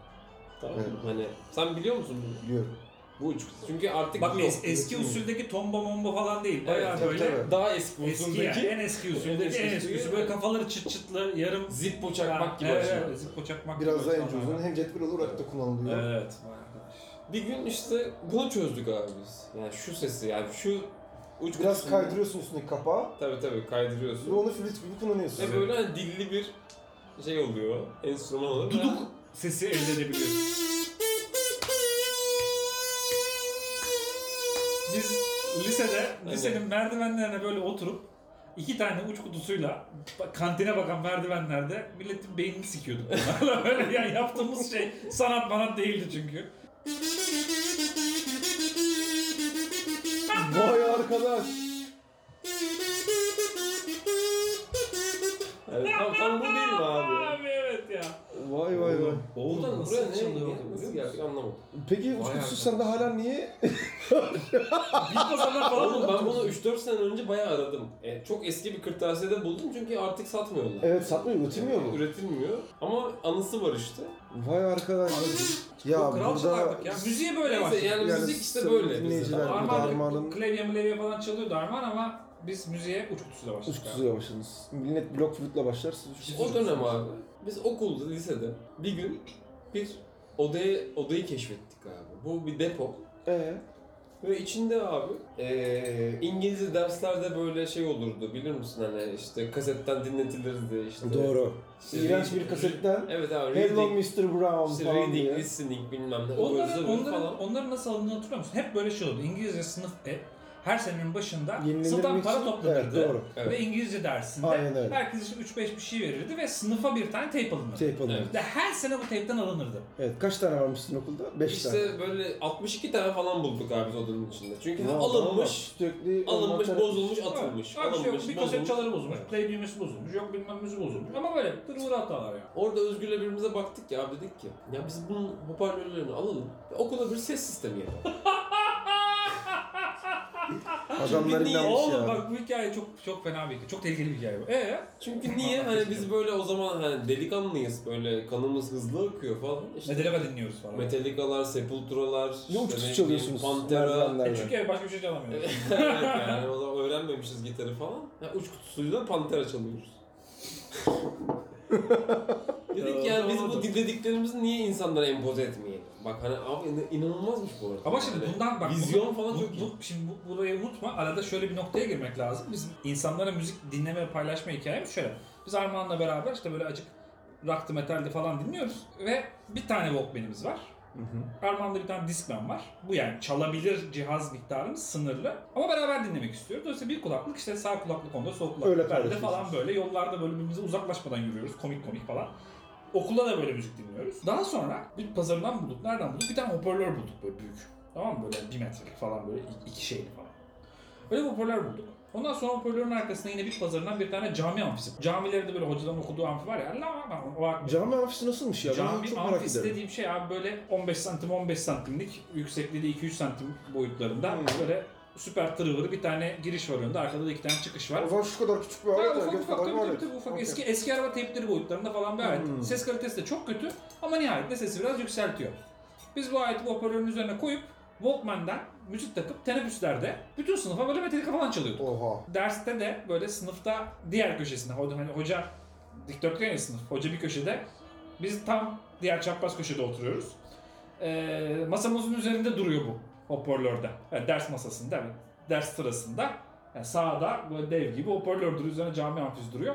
A: Tamam mı?
B: Evet.
A: Hani sen biliyor musun bunu?
B: Biliyorum.
A: Bu uç kutusu. Çünkü artık
C: Bak
A: yok.
C: es- eski usuldeki tomba momba falan değil. Bayağı
A: Evet,
B: tabii,
C: böyle
B: tabii.
A: daha eski
C: eski yani.
A: usuldeki
C: En eski usuldeki en
A: En
C: eski
A: eski
C: usul. Böyle kafaları çıt çıtlı yarım.
A: zippo çakmak gibi
C: Evet,
A: açılıyor.
C: evet, zippo çakmak
B: Biraz
C: gibi
B: daha
C: açılan
B: ince uzun.
C: var.
B: Hem cetvel olarak da kullanılıyor.
C: Evet. vay arkadaş.
A: Bir gün işte bunu çözdük abi biz. Yani şu sesi yani şu uç
B: Biraz
A: kutusunu-
B: kaydırıyorsun üstündeki kapağı.
A: Tabii tabii kaydırıyorsun.
B: Ve onu flüt gibi kullanıyorsun.
A: Ve böyle hani dilli bir şey oluyor. Enstrüman oluyor.
C: Duduk sesi elde edebiliyorsun. Biz lisede, lisenin merdivenlerine böyle oturup iki tane uç kutusuyla ba- kantine bakan merdivenlerde milletin beynini sikiyorduk. bunlarla. böyle yani yaptığımız şey sanat manat değildi çünkü.
B: Vay arkadaş.
A: Yani tam, tam bu değil mi abi?
C: Abi evet ya.
B: Vay vay vay.
A: Buradan
C: Oğlum
A: buraya
C: buraya
A: ne?
C: çalıyor?
A: Nasıl geldik anlamadım.
B: Peki
A: Vay
B: uçkusuz
A: arkadaş.
B: sende hala niye?
C: Bir pazarlar falan
A: Oğlum ben
C: oldu.
A: bunu 3-4 sene önce bayağı aradım. E, çok eski bir kırtasiyede buldum çünkü artık satmıyorlar.
B: Evet satmıyor, üretilmiyor mu?
A: Üretilmiyor. Ama anısı var işte.
B: Vay arkadaş. Ya
C: Çok kral
B: burada
C: çalardık ya. Müziğe böyle
A: Neyse,
C: başladık.
A: yani,
B: Yani
A: müzik işte
B: sevgili
A: böyle. bizde.
B: dinleyiciler,
A: Tamam.
B: bir de
C: Armağan
B: Armağan'ın-
C: klavye mülevye falan çalıyordu Armağan ama biz müziğe uç kutusuyla başladık.
B: uçkusuz yavaşınız. Millet blok flütle başlar. Siz uçkusuz
A: O dönem abi biz okulda lisede bir gün bir odaya odayı keşfettik abi. Bu bir depo.
B: Ee,
A: Ve içinde abi eee İngilizce derslerde böyle şey olurdu bilir misin hani işte kasetten dinletilirdi işte.
B: doğru.
A: İşte
B: İğrenç
A: reading-
B: bir kasetten
A: Evet abi
B: Hello
A: reading,
B: Mr. Brown
A: işte
B: falan
A: reading,
B: diye.
A: listening bilmem ne.
C: Onların,
A: böyle
C: onların,
A: falan.
C: onların nasıl alındığını hatırlıyor musun? Hep böyle şey oldu. İngilizce sınıf e, her senenin başında sınıftan
B: Yenilenirmek
C: para
B: için. şey- Evet
C: toplanırdı.
B: doğru.
A: Evet.
C: Ve İngilizce dersinde
B: Aynen öyle.
C: herkes için 3-5 bir şey verirdi ve sınıfa bir tane tape alınırdı.
B: Tape alınır.
A: Evet.
B: Evet.
C: Ve her sene bu tape'den alınırdı.
B: Kaç tane varmış sizin okulda? 5 tane.
A: İşte böyle 62 tane falan bulduk abi biz odanın içinde. Çünkü
B: Ya, ama
A: alınmış,
B: Sürekli
A: alınmış,
B: envanter-
A: bozulmuş, atılmış.
C: Evet. Abi şey yok,
A: alınmış,
C: bir kaset
A: bozulmuş.
C: çaları bozulmuş, play düğmesi bozulmuş, yok bilmem nesi bozulmuş. Ama böyle tırvır hatalar yani.
A: Orada Özgür'le birbirimize baktık ya abi dedik ki ya biz bunun hoparlörlerini alalım ve okula bir ses sistemi yapalım.
B: Adamlar
A: Çünkü niye-
B: inanmış
C: Oğlum
B: ya.
C: bak bu hikaye çok çok fena bir hikaye. Çok tehlikeli bir hikaye bu. Ee?
A: Çünkü niye hani biz böyle o zaman hani delikanlıyız böyle kanımız hızlı akıyor falan. İşte
C: Metallica dinliyoruz falan. E,
A: Metallica'lar, Sepultura'lar,
B: Ne
A: işte
B: uçkusuz
A: ne
B: çalıyorsunuz?
A: bileyim, Pantera.
B: merdivenlerden?
C: E çünkü evet, başka bir şey çalamıyoruz.
A: evet yani o zaman öğrenmemişiz gitarı falan. Ha, uç kutusuyla Pantera çalıyoruz. Dedik yani biz bu dinlediklerimizi niye insanlara empoze etmeyelim? Bak hani abi ne- inanılmazmış bu arada.
C: Ama şimdi
A: Hani
C: bundan bak
A: Vizyon falan
C: bu-
A: çok iyi.
C: bu- şimdi bu- burayı unutma. Arada şöyle bir noktaya girmek lazım. Bizim insanlara müzik dinleme ve paylaşma hikayemiz şöyle. Biz Armağan'la beraber işte böyle acık rock'tı metaldi falan dinliyoruz. Ve bir tane Walkman'imiz var. Armağan'da bir tane Discman var. Bu yani çalabilir cihaz miktarımız sınırlı. Ama beraber dinlemek istiyoruz. Dolayısıyla bir kulaklık işte sağ kulaklık onda sol kulaklık
B: Öyle
C: bende
B: paylaşıyorsunuz.
C: falan böyle yollarda böyle birbirimize uzaklaşmadan yürüyoruz. Komik komik falan. Okulda da böyle müzik dinliyoruz. Daha sonra bir pazarından bulduk. Nereden bulduk? Bir tane hoparlör bulduk böyle büyük. Tamam mı? Böyle bir metrelik falan böyle i- iki şeyli falan. Böyle bir hoparlör bulduk. Ondan sonra hoparlörün arkasında yine bir pazarından bir tane cami amfisi. Camilerde böyle hocaların okuduğu amfi var ya. Allah ben o
B: Cami amfisi nasılmış ya? Ben
C: Cami
B: çok merak
C: amfisi
B: ederim.
C: dediğim şey abi böyle 15 santim 15 santimlik yüksekliği de 2-3 santim boyutlarında
A: Hmm.
C: böyle süper tırıvırı bir tane giriş var önünde arkada da iki tane çıkış var.
B: O zaman şu kadar küçük bir
C: Böyle
B: alet.
C: ufak
B: erkek
C: ufak
B: kadar
C: tabii
B: bir
C: tabii,
B: alet.
C: tabii ufak
B: Okey.
C: eski, eski araba teypleri boyutlarında falan bir alet.
B: Hmm.
C: Ses kalitesi de çok kötü ama nihayetinde sesi biraz yükseltiyor. Biz bu aleti bu hoparlörün üzerine koyup Walkman'dan müzik takıp teneffüslerde bütün sınıfa böyle metalika falan çalıyorduk.
B: Oha.
C: Derste de böyle sınıfta diğer köşesinde ho- hani hoca dikdörtgen ya sınıf hoca bir köşede biz tam diğer çapraz köşede oturuyoruz. Ee, masamızın üzerinde duruyor bu hoparlörde. Yani ders masasında, yani ders sırasında. Yani sağda böyle dev gibi hoparlör duruyor. Üzerine cami amfisi duruyor.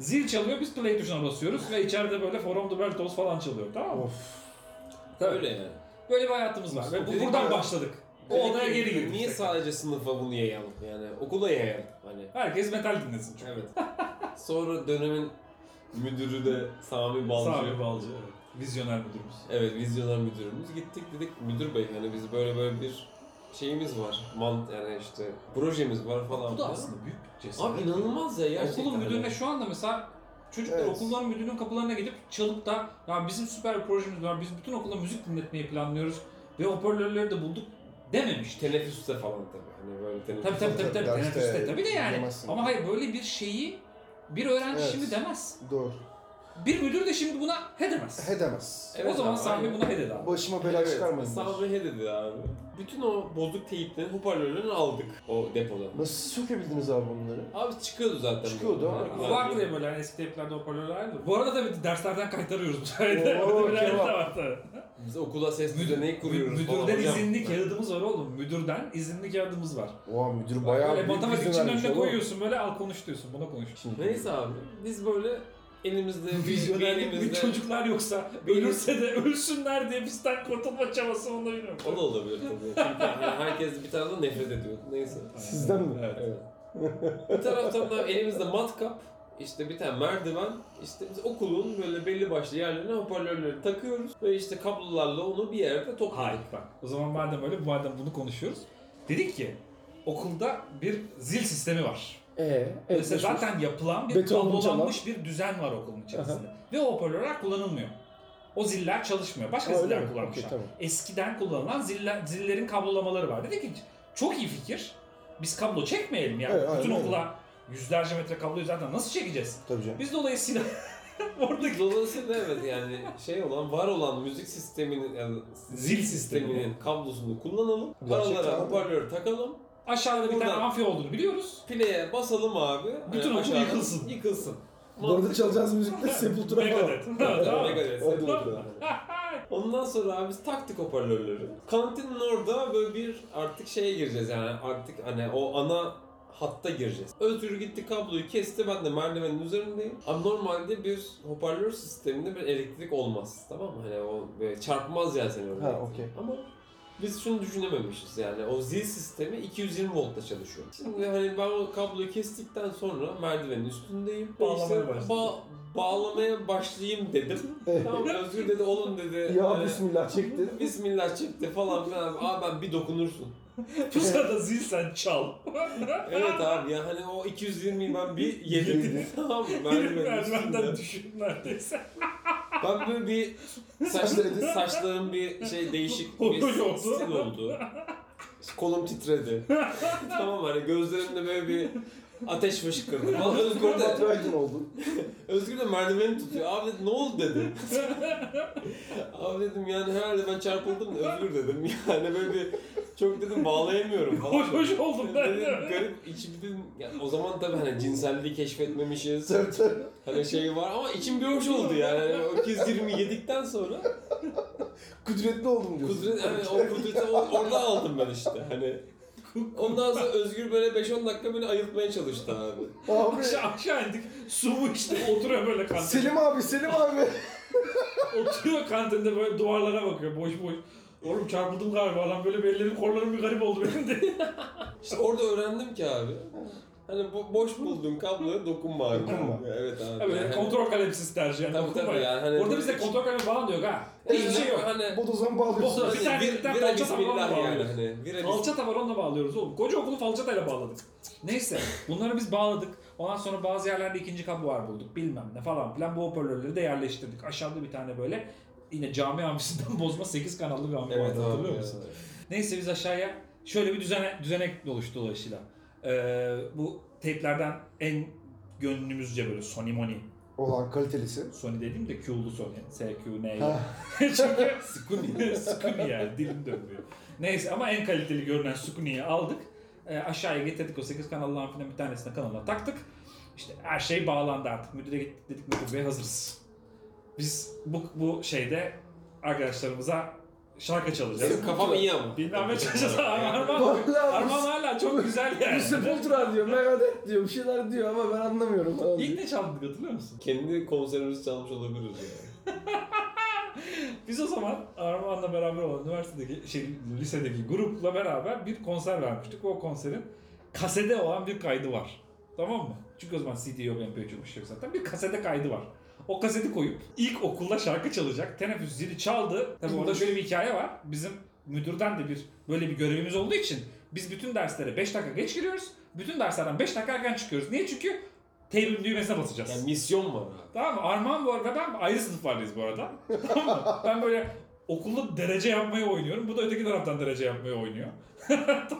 C: Zil çalıyor biz play tuşuna basıyoruz ve içeride böyle Forum the Bertos falan çalıyor tamam mı?
B: Of.
A: Öyle yani.
C: Böyle bir hayatımız var ve bu, buradan başladık. O
A: Dedik
C: odaya
A: ki,
C: geri girdik.
A: Niye
C: tekrar.
A: sadece sınıfa bunu yayalım yani? Okula yayalım hani.
C: Herkes metal dinlesin çünkü.
A: Evet. Sonra dönemin müdürü de Sami Balcı.
C: Sami Balcı evet. Vizyoner müdürümüz.
A: Evet vizyonlar müdürümüz gittik dedik müdür bey hani biz böyle böyle bir şeyimiz var. Mant yani işte projemiz var falan.
C: Bu da
A: filan."
C: aslında büyük bir cesaret.
A: Abi inanılmaz ya gerçekten.
C: Okulun
A: hani.
C: müdürüne şu anda mesela çocuklar
B: Evet.
C: okulların müdürünün kapılarına gidip çalıp da ya bizim süper bir projemiz var. Biz bütün okula müzik dinletmeyi planlıyoruz ve hoparlörleri de bulduk dememiş.
A: Teneffüste falan tabii. Hani böyle teneffüste.
C: Tabii tabii tabii tabii.
B: Derste
C: Teneffüste tabii de yani.
B: dinlemezsin.
C: Ama hayır böyle bir şeyi bir öğrenci
B: Evet.
C: şimdi demez.
B: Doğru.
C: Bir müdür de şimdi buna he demez.
B: He demez.
A: Evet
C: o zaman
A: abi,
C: Sami
A: aynen.
C: buna he dedi abi.
B: Başıma bela
A: Evet,
B: çıkarmayın.
A: Sami he dedi abi. Bütün o bozuk teyiplerin hoparlörlerini aldık o depodan.
B: Nasıl sökebildiniz abi bunları?
A: Abi çıkıyordu zaten.
B: Çıkıyordu
A: bunlar.
B: abi.
A: Bunlar
C: Vardı
A: değil.
C: ya böyle hani eski teyplerde hoparlörler vardı. Bu arada tabii derslerden kaytarıyoruz bu sayede. Orada bir ayrıntı
B: kebap.
C: var tabii.
A: Biz okula ses düzeneği kuruyoruz falan.
C: Müdürden
A: hocam.
C: izinli kağıdımız var oğlum. Müdürden izinli kağıdımız var.
B: Oha müdür bayağı
C: böyle
B: büyük
C: matematik
B: izin
C: için
B: vermiş
C: önüne
B: oğlum.
C: koyuyorsun böyle al konuş diyorsun. Buna konuş.
B: Şimdi-
A: Neyse abi biz böyle elimizde bir, bir
C: Vizyonerlik bir
A: elimizde...
C: çocuklar yoksa ölürse de ölsünler diye bizden kurtulma çabası onu da bilmiyorum.
A: O da olabilir tabii. Çünkü hani herkes bir taraftan nefret ediyor. Neyse.
B: Sizden mi?
C: Evet.
A: Evet. bir taraftan da elimizde matkap, işte bir tane merdiven, işte biz okulun böyle belli başlı yerlerine hoparlörleri takıyoruz ve işte kablolarla onu bir yerde
C: Hayır
A: topladık.
C: bak o zaman madem öyle madem bunu konuşuyoruz. Dedik ki okulda bir zil sistemi var.
B: Ee,
C: Mesela zaten yapılan bir
B: Beton
C: kablolanmış bir düzen var okulun içerisinde. Ve o hoparlörler kullanılmıyor. O ziller çalışmıyor. Başka
B: Aa, öyle
C: ziller
B: mi?
C: kullanmışlar.
B: Okey, tamam.
C: Eskiden kullanılan ziller, zillerin kablolamaları var. Dedik ki çok iyi fikir. Biz kablo çekmeyelim yani.
B: Evet, aynen
C: Bütün
B: öyle.
C: okula yüzlerce metre kabloyu zaten nasıl çekeceğiz?
B: Tabii canım.
C: Biz dolayısıyla oradaki
A: Dolayısıyla evet yani şey olan, var olan müzik sisteminin, yani
C: Zil
A: zil
C: sistemi.
A: sisteminin kablosunu kullanalım.
B: Gerçekten
A: Aralara
B: abi.
A: hoparlör takalım.
C: aşağıda bir tane
A: Buradan.
C: amfi olduğunu biliyoruz.
A: Play'e basalım abi. Ee,
C: Bütün okul
A: aşağıdan
C: yıkılsın.
A: Yıkılsın.
B: Bu arada çalacağız müzikte Sepultura falan.
C: Megadeth. Tamam mı?
A: Megadeth.
B: Hadi bakalım.
A: Ondan sonra abi biz taktık hoparlörleri. Kantinin orada böyle bir artık şeye gireceğiz yani artık hani o ana hatta gireceğiz. Özgür gitti kabloyu kesti ben de merdivenin üzerindeyim. Abi normalde bir hoparlör sisteminde bir elektrik olmaz tamam mı? Hani o böyle çarpmaz yani seni orada.
B: Ha, okey.
A: Ama biz şunu düşünememişiz yani o zil sistemi 220 voltta çalışıyor. Şimdi hani ben o kabloyu kestikten sonra merdivenin üstündeyim.
C: Bağlamaya
A: İşte
C: başladım.
A: ba- bağlamaya başlayayım dedim. Tamam Özgür dedi oğlum dedi.
B: Ya
A: Ee,
B: bismillah çekti.
A: Bismillah çekti falan filan. Abi ben bir dokunursun.
C: Bu sırada zil sen çal.
A: Evet abi ya hani o 220'yi ben bir yedim.
B: Yedi.
A: tamam mı? Merdivenin
C: Merdivenden
A: üstünde.
C: düşün neredeyse.
A: Ben böyle bir saç, saçlarım bir şey değişik bir
C: Oldu.
A: stil oldu. Kolum titredi. tamam hani gözlerimde böyle bir ateş fışkırdı. Vallahi Özgür de,
B: Batraydın oldun.
A: Özgür de merdiveni tutuyor. Abi dedi, ne oldu dedi. Abi dedim yani herhalde ben çarpıldım da özgür dedim. Yani böyle bir çok dedim bağlayamıyorum falan.
C: Hoş hoş oldum ben
A: Dedim,
C: de.
A: garip içim dedim. Yani o zaman tabii hani cinselliği keşfetmemişiz.
B: Tabii tabii.
A: Hani şey var ama içim bir hoş oldu yani. Hani O kez 20 yedikten sonra.
B: kudretli oldum diyorsun.
A: Kudret, evet, o kudreti o- orada aldım ben işte. Hani Ondan sonra Özgür böyle 5-10 dakika beni ayıltmaya çalıştı abi.
B: Abi.
C: aşağı, aşağı indik. Su mu içti oturuyor böyle kantinde.
B: Selim abi, Selim abi.
C: Oturuyor kantinde böyle duvarlara bakıyor boş boş. Oğlum çarpıldım galiba lan böyle bir ellerim kollarım bir garip oldu benim de.
A: İşte orada öğrendim ki abi. Hani bu boş bulduğun kabloya dokunma abi.
B: Dokunma.
A: Evet abi.
C: Ha, böyle
A: Yani-
C: kontrol kalemsiz tercih yani.
A: Tabii,
C: dokunma
A: tabii yani, hani-
C: Orada bize kontrol kalemi falan diyor ha. Hiçbir
A: Evet,
C: şey yok.
A: Hani
B: Bodozan bağlıyorsun.
C: Bodozan-
A: hani
C: Bir tane- bir
A: bir,
C: tane
A: vira
C: falçata falan
A: bismillah yani
C: bağlıyoruz.
A: hani. Vira bismillah.
C: Falçata var onunla bağlıyoruz oğlum. Koca okulu falçatayla bağladık. Neyse bunları biz bağladık. Ondan sonra bazı yerlerde ikinci kablo var bulduk bilmem ne falan filan. Bu hoparlörleri de yerleştirdik. Aşağıda bir tane böyle yine cami amcisinden bozma 8 kanallı bir amfi
A: Evet
C: vardı
A: abi.
C: hatırlıyor musun? Neyse biz aşağıya şöyle bir düzene, düzenek oluştu dolayısıyla. Ee, bu teyplerden en gönlümüzce böyle Sony Moni.
B: Olan kalitelisi.
C: Sony dediğim de Q'lu Sony. SQ, N.
B: Ha.
C: Çünkü Sukuni. Sukuni yani dilim dönmüyor. Neyse ama en kaliteli görünen Sukuni'yi aldık. E, aşağıya getirdik o 8 kanallı amfinin bir tanesine kanalına taktık. İşte her şey bağlandı artık. Müdüre gittik dedik müdür bey hazırız. Biz bu, bu şeyde arkadaşlarımıza şarkı çalacağız.
A: Senin kafam iyi ama.
C: Bilmem ne çalacağız. Arman,
B: Vallahi
C: Arman hala çok güzel yani.
B: Bu Sepultura diyor, Megadeth diyor, bir şeyler diyor ama ben anlamıyorum falan diyor.
C: İlk ne çaldık hatırlıyor musun?
A: Kendi konserimizi çalmış olabiliriz yani.
C: Biz o zaman Armağan'la beraber olan üniversitedeki şey lisedeki grupla beraber bir konser vermiştik. O konserin kasede olan bir kaydı var. Tamam mı? Çünkü o zaman CD yok, MP3 yok, bir şey yok zaten. Bir kasede kaydı var. O kaseti koyup ilk okulda şarkı çalacak. Teneffüs zili çaldı. Tabii orada şöyle bir hikaye var. Bizim müdürden de bir böyle bir görevimiz olduğu için biz bütün derslere 5 dakika geç giriyoruz. Bütün derslerden 5 dakika erken çıkıyoruz. Niye? Çünkü teybin düğmesine basacağız.
A: Yani misyon var abi.
C: Tamam mı? Armağan bu arada ben ayrı sınıflardayız bu arada. Tamam mı? ben böyle okulda derece yapmayı oynuyorum. Bu da öteki taraftan derece yapmayı oynuyor.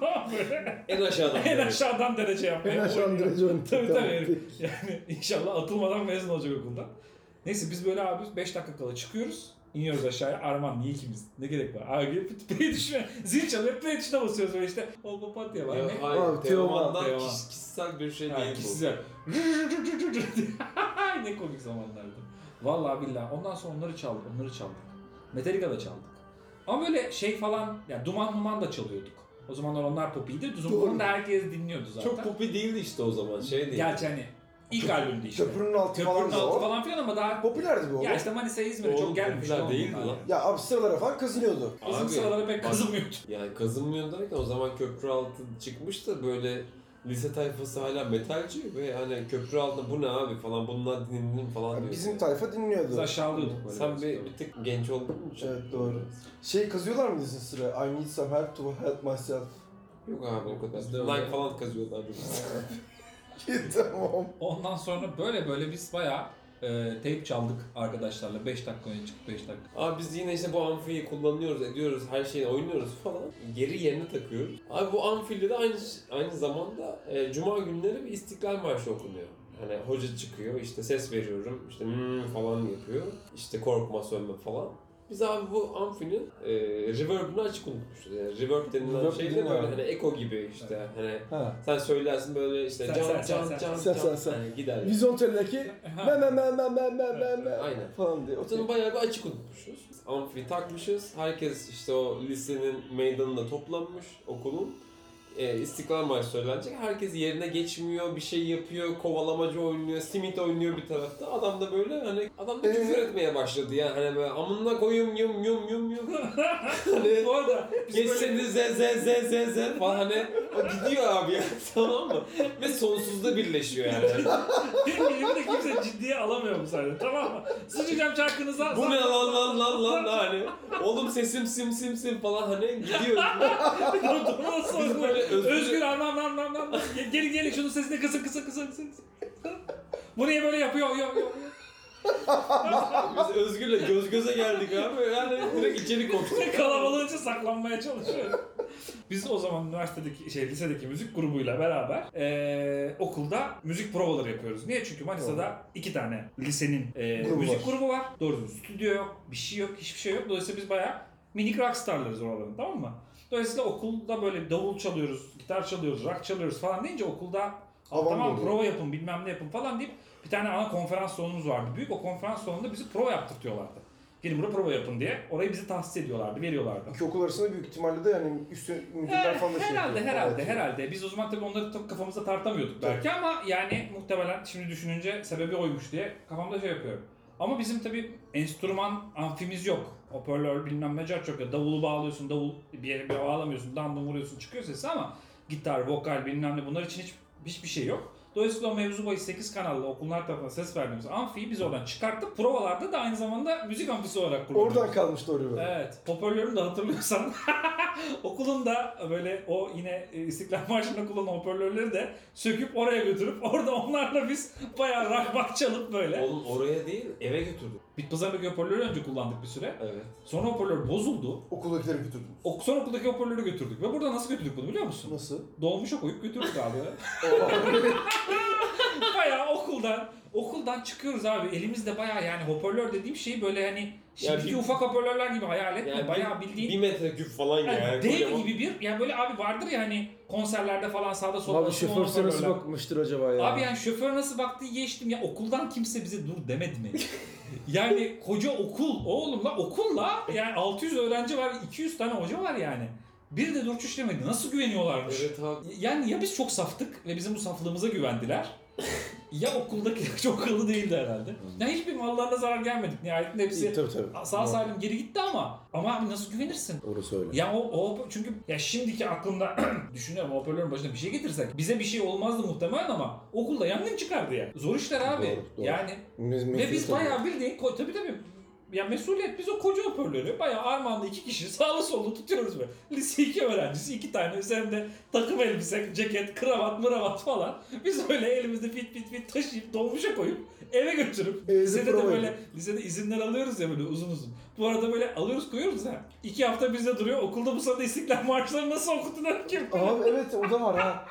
C: tamam böyle.
A: En aşağıdan.
C: En aşağıdan derece yapmayı
B: En aşağı
C: oynuyor.
B: derece ön-
C: Tabii
B: Tamam,
C: tabii.
B: peki.
C: Yani inşallah atılmadan mezun olacak okulda. Neyse biz böyle abi 5 dakika kala çıkıyoruz. İniyoruz aşağıya. Arman niye ikimiz? Ne gerek var? Abi play düşme. Zil çalıyor. Play tuşuna basıyoruz böyle işte. O papatya var.
A: Ya,
C: ne?
A: hayır,
B: Abi,
A: Teoman'dan
C: Teoman.
A: kişis- kişisel bir şey
C: Ha,
A: değil bu.
C: kişisel. ne komik zamanlardı. Vallahi billahi. Ondan sonra onları çaldık, onları çaldık. Metallica da çaldık. Ama böyle şey falan, yani duman duman da çalıyorduk. O zamanlar onlar popiydi. Duman
B: Doğru.
C: da herkes dinliyordu zaten.
A: Çok popi değildi işte o zaman. Şey değil.
C: Gerçi hani ilk albümdü işte.
B: Köprünün altı
C: Köprünün
B: falan da
C: altı
B: o.
C: falan filan ama daha...
B: Popülerdi bu.
C: Ya işte Manisa İzmir'e
A: Oğlum,
C: çok gelmiş.
A: popüler değildi lan.
B: Ya abi sıralara falan kazınıyordu.
C: Bizim
A: Abi,
C: sıralara pek
A: bak-
C: kazınmıyordu.
A: Yani kazınmıyor derken o zaman köprü altı çıkmış da böyle lise tayfası hala metalci ve hani köprü altında bu ne abi falan bunlar dinlenir falan
B: Ya
A: diyor.
B: bizim tayfa
C: Biz
B: dinliyordu.
C: aşağılıyorduk böyle. şey
A: Sen bir, bir tık genç oldun mu?
B: Evet, doğru. Şey kazıyorlar mı dizin sıra? I need some help to help myself.
A: Yok abi o kadar.
C: Bizde
A: Nike
C: öyle.
A: falan kazıyorlar. biz.
B: tamam.
C: Ondan sonra böyle böyle biz bayağı e, tape çaldık arkadaşlarla. 5 dakika önce çıkıp 5 dakika.
A: abi biz yine işte bu amfiyi kullanıyoruz, ediyoruz, her şeyi oynuyoruz falan. Geri yerine takıyoruz. Abi bu amfiyle de aynı aynı zamanda e, cuma günleri bir İstiklal Marşı okunuyor. Hani hoca çıkıyor işte ses veriyorum işte "Hmm" falan yapıyor. İşte korkma sönme falan. Biz abi bu amfinin e, reverb'ünü açık unutmuşuz. Yani reverb denilen
B: Reverb
A: şey de
B: dediğin
A: böyle
B: abi.
A: hani eko gibi işte hani
B: Ha.
A: sen söylersin böyle işte
C: Sen-
A: can
C: sen-
A: can
C: sen-
A: can
C: sen-
B: sen-
A: can
B: sen- sen.
A: Hani gider. yani.
B: Vizyon teldeki me me me me me me me me
A: Aynen.
B: falan diye.
A: Ortanın bayağı bir açık unutmuşuz. Amfi takmışız. Herkes işte o lisenin meydanında toplanmış okulun. E, İstiklal Marşı söylenecek. Herkes yerine geçmiyor, bir şey yapıyor, kovalamacı oynuyor, simit oynuyor bir tarafta. Adam da böyle hani adam da küfür
B: Ee?
A: etmeye başladı yani hani böyle amına koyum yum yum yum yum. hani
C: E, Bu arada biz böyle-
A: geçseniz ze ze ze ze ze falan hani o gidiyor abi ya tamam mı? Ve sonsuzda birleşiyor yani.
C: Benim de kimse ciddiye alamıyor bu sayede tamam mı? Sıçacağım çarkınıza.
A: Bu ne lan lan lan lan hani. Oğlum sesim sim sim sim falan hani gidiyor.
C: Ondan sonra
A: Biz böyle özgür-
C: özgür, özgür anam anam anam anam. Ge- Gelin gelin şunun sesini kısın kısın kısın kısın. Bu niye böyle yapıyor? Yok yok yok.
A: Biz Özgür'le göz göze geldik abi. Yani direkt içeri koştuk.
C: Kalabalığın için saklanmaya çalışıyor. Biz o zaman üniversitedeki şey lisedeki müzik grubuyla beraber eee, okulda müzik provaları yapıyoruz. Niye? Çünkü Manisa'da iki tane lisenin eee,
B: Grubu
C: müzik
B: var.
C: grubu var. Doğru düzgün stüdyo yok, bir şey yok, hiçbir şey yok. Dolayısıyla biz bayağı minik rockstarlarız oraların tamam mı? Dolayısıyla okulda böyle davul çalıyoruz, gitar çalıyoruz, rock çalıyoruz falan deyince okulda
B: Havan
C: tamam
B: doluyor."
C: prova yapın bilmem ne yapın falan deyip bir tane ana konferans salonumuz vardı. Büyük o konferans salonunda bizi prova yaptırtıyorlardı. Gelin burada prova yapın diye. Orayı bize tahsis ediyorlardı, veriyorlardı.
B: İki okul arasında büyük ihtimalle de yani üst müdürler falan da şey
C: herhalde
B: yapıyor.
C: herhalde
B: Evet.
C: herhalde. Biz o zaman tabii onları tam kafamızda tartamıyorduk belki ama yani muhtemelen şimdi düşününce sebebi oymuş diye kafamda şey yapıyorum. Ama bizim tabii enstrüman amfimiz yok. Hoparlör bilmem ne çok yok. Davulu bağlıyorsun, davul bir yere bir bağlamıyorsun, dandum vuruyorsun çıkıyor sesi ama gitar, vokal bilmem ne bunlar için hiç, hiçbir şey yok. Dolayısıyla o mevzu bahis 8 kanallı okullar tarafından ses verdiğimiz amfiyi biz oradan çıkarttık. Provalarda da aynı zamanda müzik amfisi olarak kullanıyoruz.
B: Oradan kalmıştı oraya böyle.
C: Evet. Hoparlörünü de hatırlıyorsan okulun da böyle o yine e, İstiklal Marşı'nda kullanan hoparlörleri de söküp oraya götürüp orada onlarla biz bayağı rock bak çalıp böyle.
A: Oğlum oraya değil eve götürdük.
C: Bitpazar'daki hoparlörü önce kullandık bir süre.
A: Evet.
C: Sonra hoparlör bozuldu.
B: Okuldakileri götürdünüz.
C: Ok sonra okuldaki hoparlörü götürdük. Ve burada nasıl götürdük bunu biliyor musun?
B: Nasıl?
C: Dolmuşa koyup götürdük abi. bayağı okuldan okuldan çıkıyoruz abi. Elimizde bayağı yani hoparlör dediğim şey böyle hani şimdiki
A: bir-
C: ufak hoparlörler gibi hayal etme.
A: Yani
C: bayağı
A: bir,
C: bildiğin
A: bir metreküp falan ya.
C: Yani
A: Yani
C: dev
A: kocaman.
C: gibi bir yani böyle abi vardır ya hani konserlerde falan sağda solda
D: Abi
C: asılı
D: şoför
C: olmasa
D: size nasıl
C: böyle.
D: bakmıştır acaba ya?
C: Abi yani şoför nasıl baktı geçtim ya okuldan kimse bize dur demedi mi? yani koca okul oğlum la okulla yani 600 öğrenci var 200 tane hoca var yani. Bir de dur çüş demedi. Nasıl güveniyorlarmış?
A: Evet abi.
C: Yani ya biz çok saftık ve bizim bu saflığımıza güvendiler. ya okuldaki çok akıllı değildi herhalde.
D: Hmm.
C: Ya hiçbir mallarına zarar gelmedik. Nihayetinde hepsi
B: Tabii tabii.
C: sağ salim geri gitti ama ama abi nasıl güvenirsin?
D: Orası öyle.
C: Ya o, o çünkü ya şimdiki aklımda düşünüyorum hoparlörün başına bir şey getirsek bize bir şey olmazdı muhtemelen ama okulda yangın çıkardı ya. Zor işler abi.
D: Doğru, doğru.
C: Yani ve biz bayağı bildiğin ko- tabii tabii ya mesuliyet biz o koca hoparlörü bayağı armağanlı iki kişi sağlı sollu tutuyoruz böyle. Lise iki öğrencisi iki tane üzerinde takım elbise, ceket, kravat, mıravat falan. Biz öyle elimizde fit fit fit taşıyıp dolmuşa koyup eve götürüp
B: Evde
C: lisede de
B: prova
C: böyle lisede izinler alıyoruz ya böyle uzun uzun. Bu arada böyle alıyoruz koyuyoruz ha. İki hafta bizde duruyor. Okulda bu sırada İstiklal Marşları nasıl okuttular kim? bilir?
B: Abi evet o da var ha.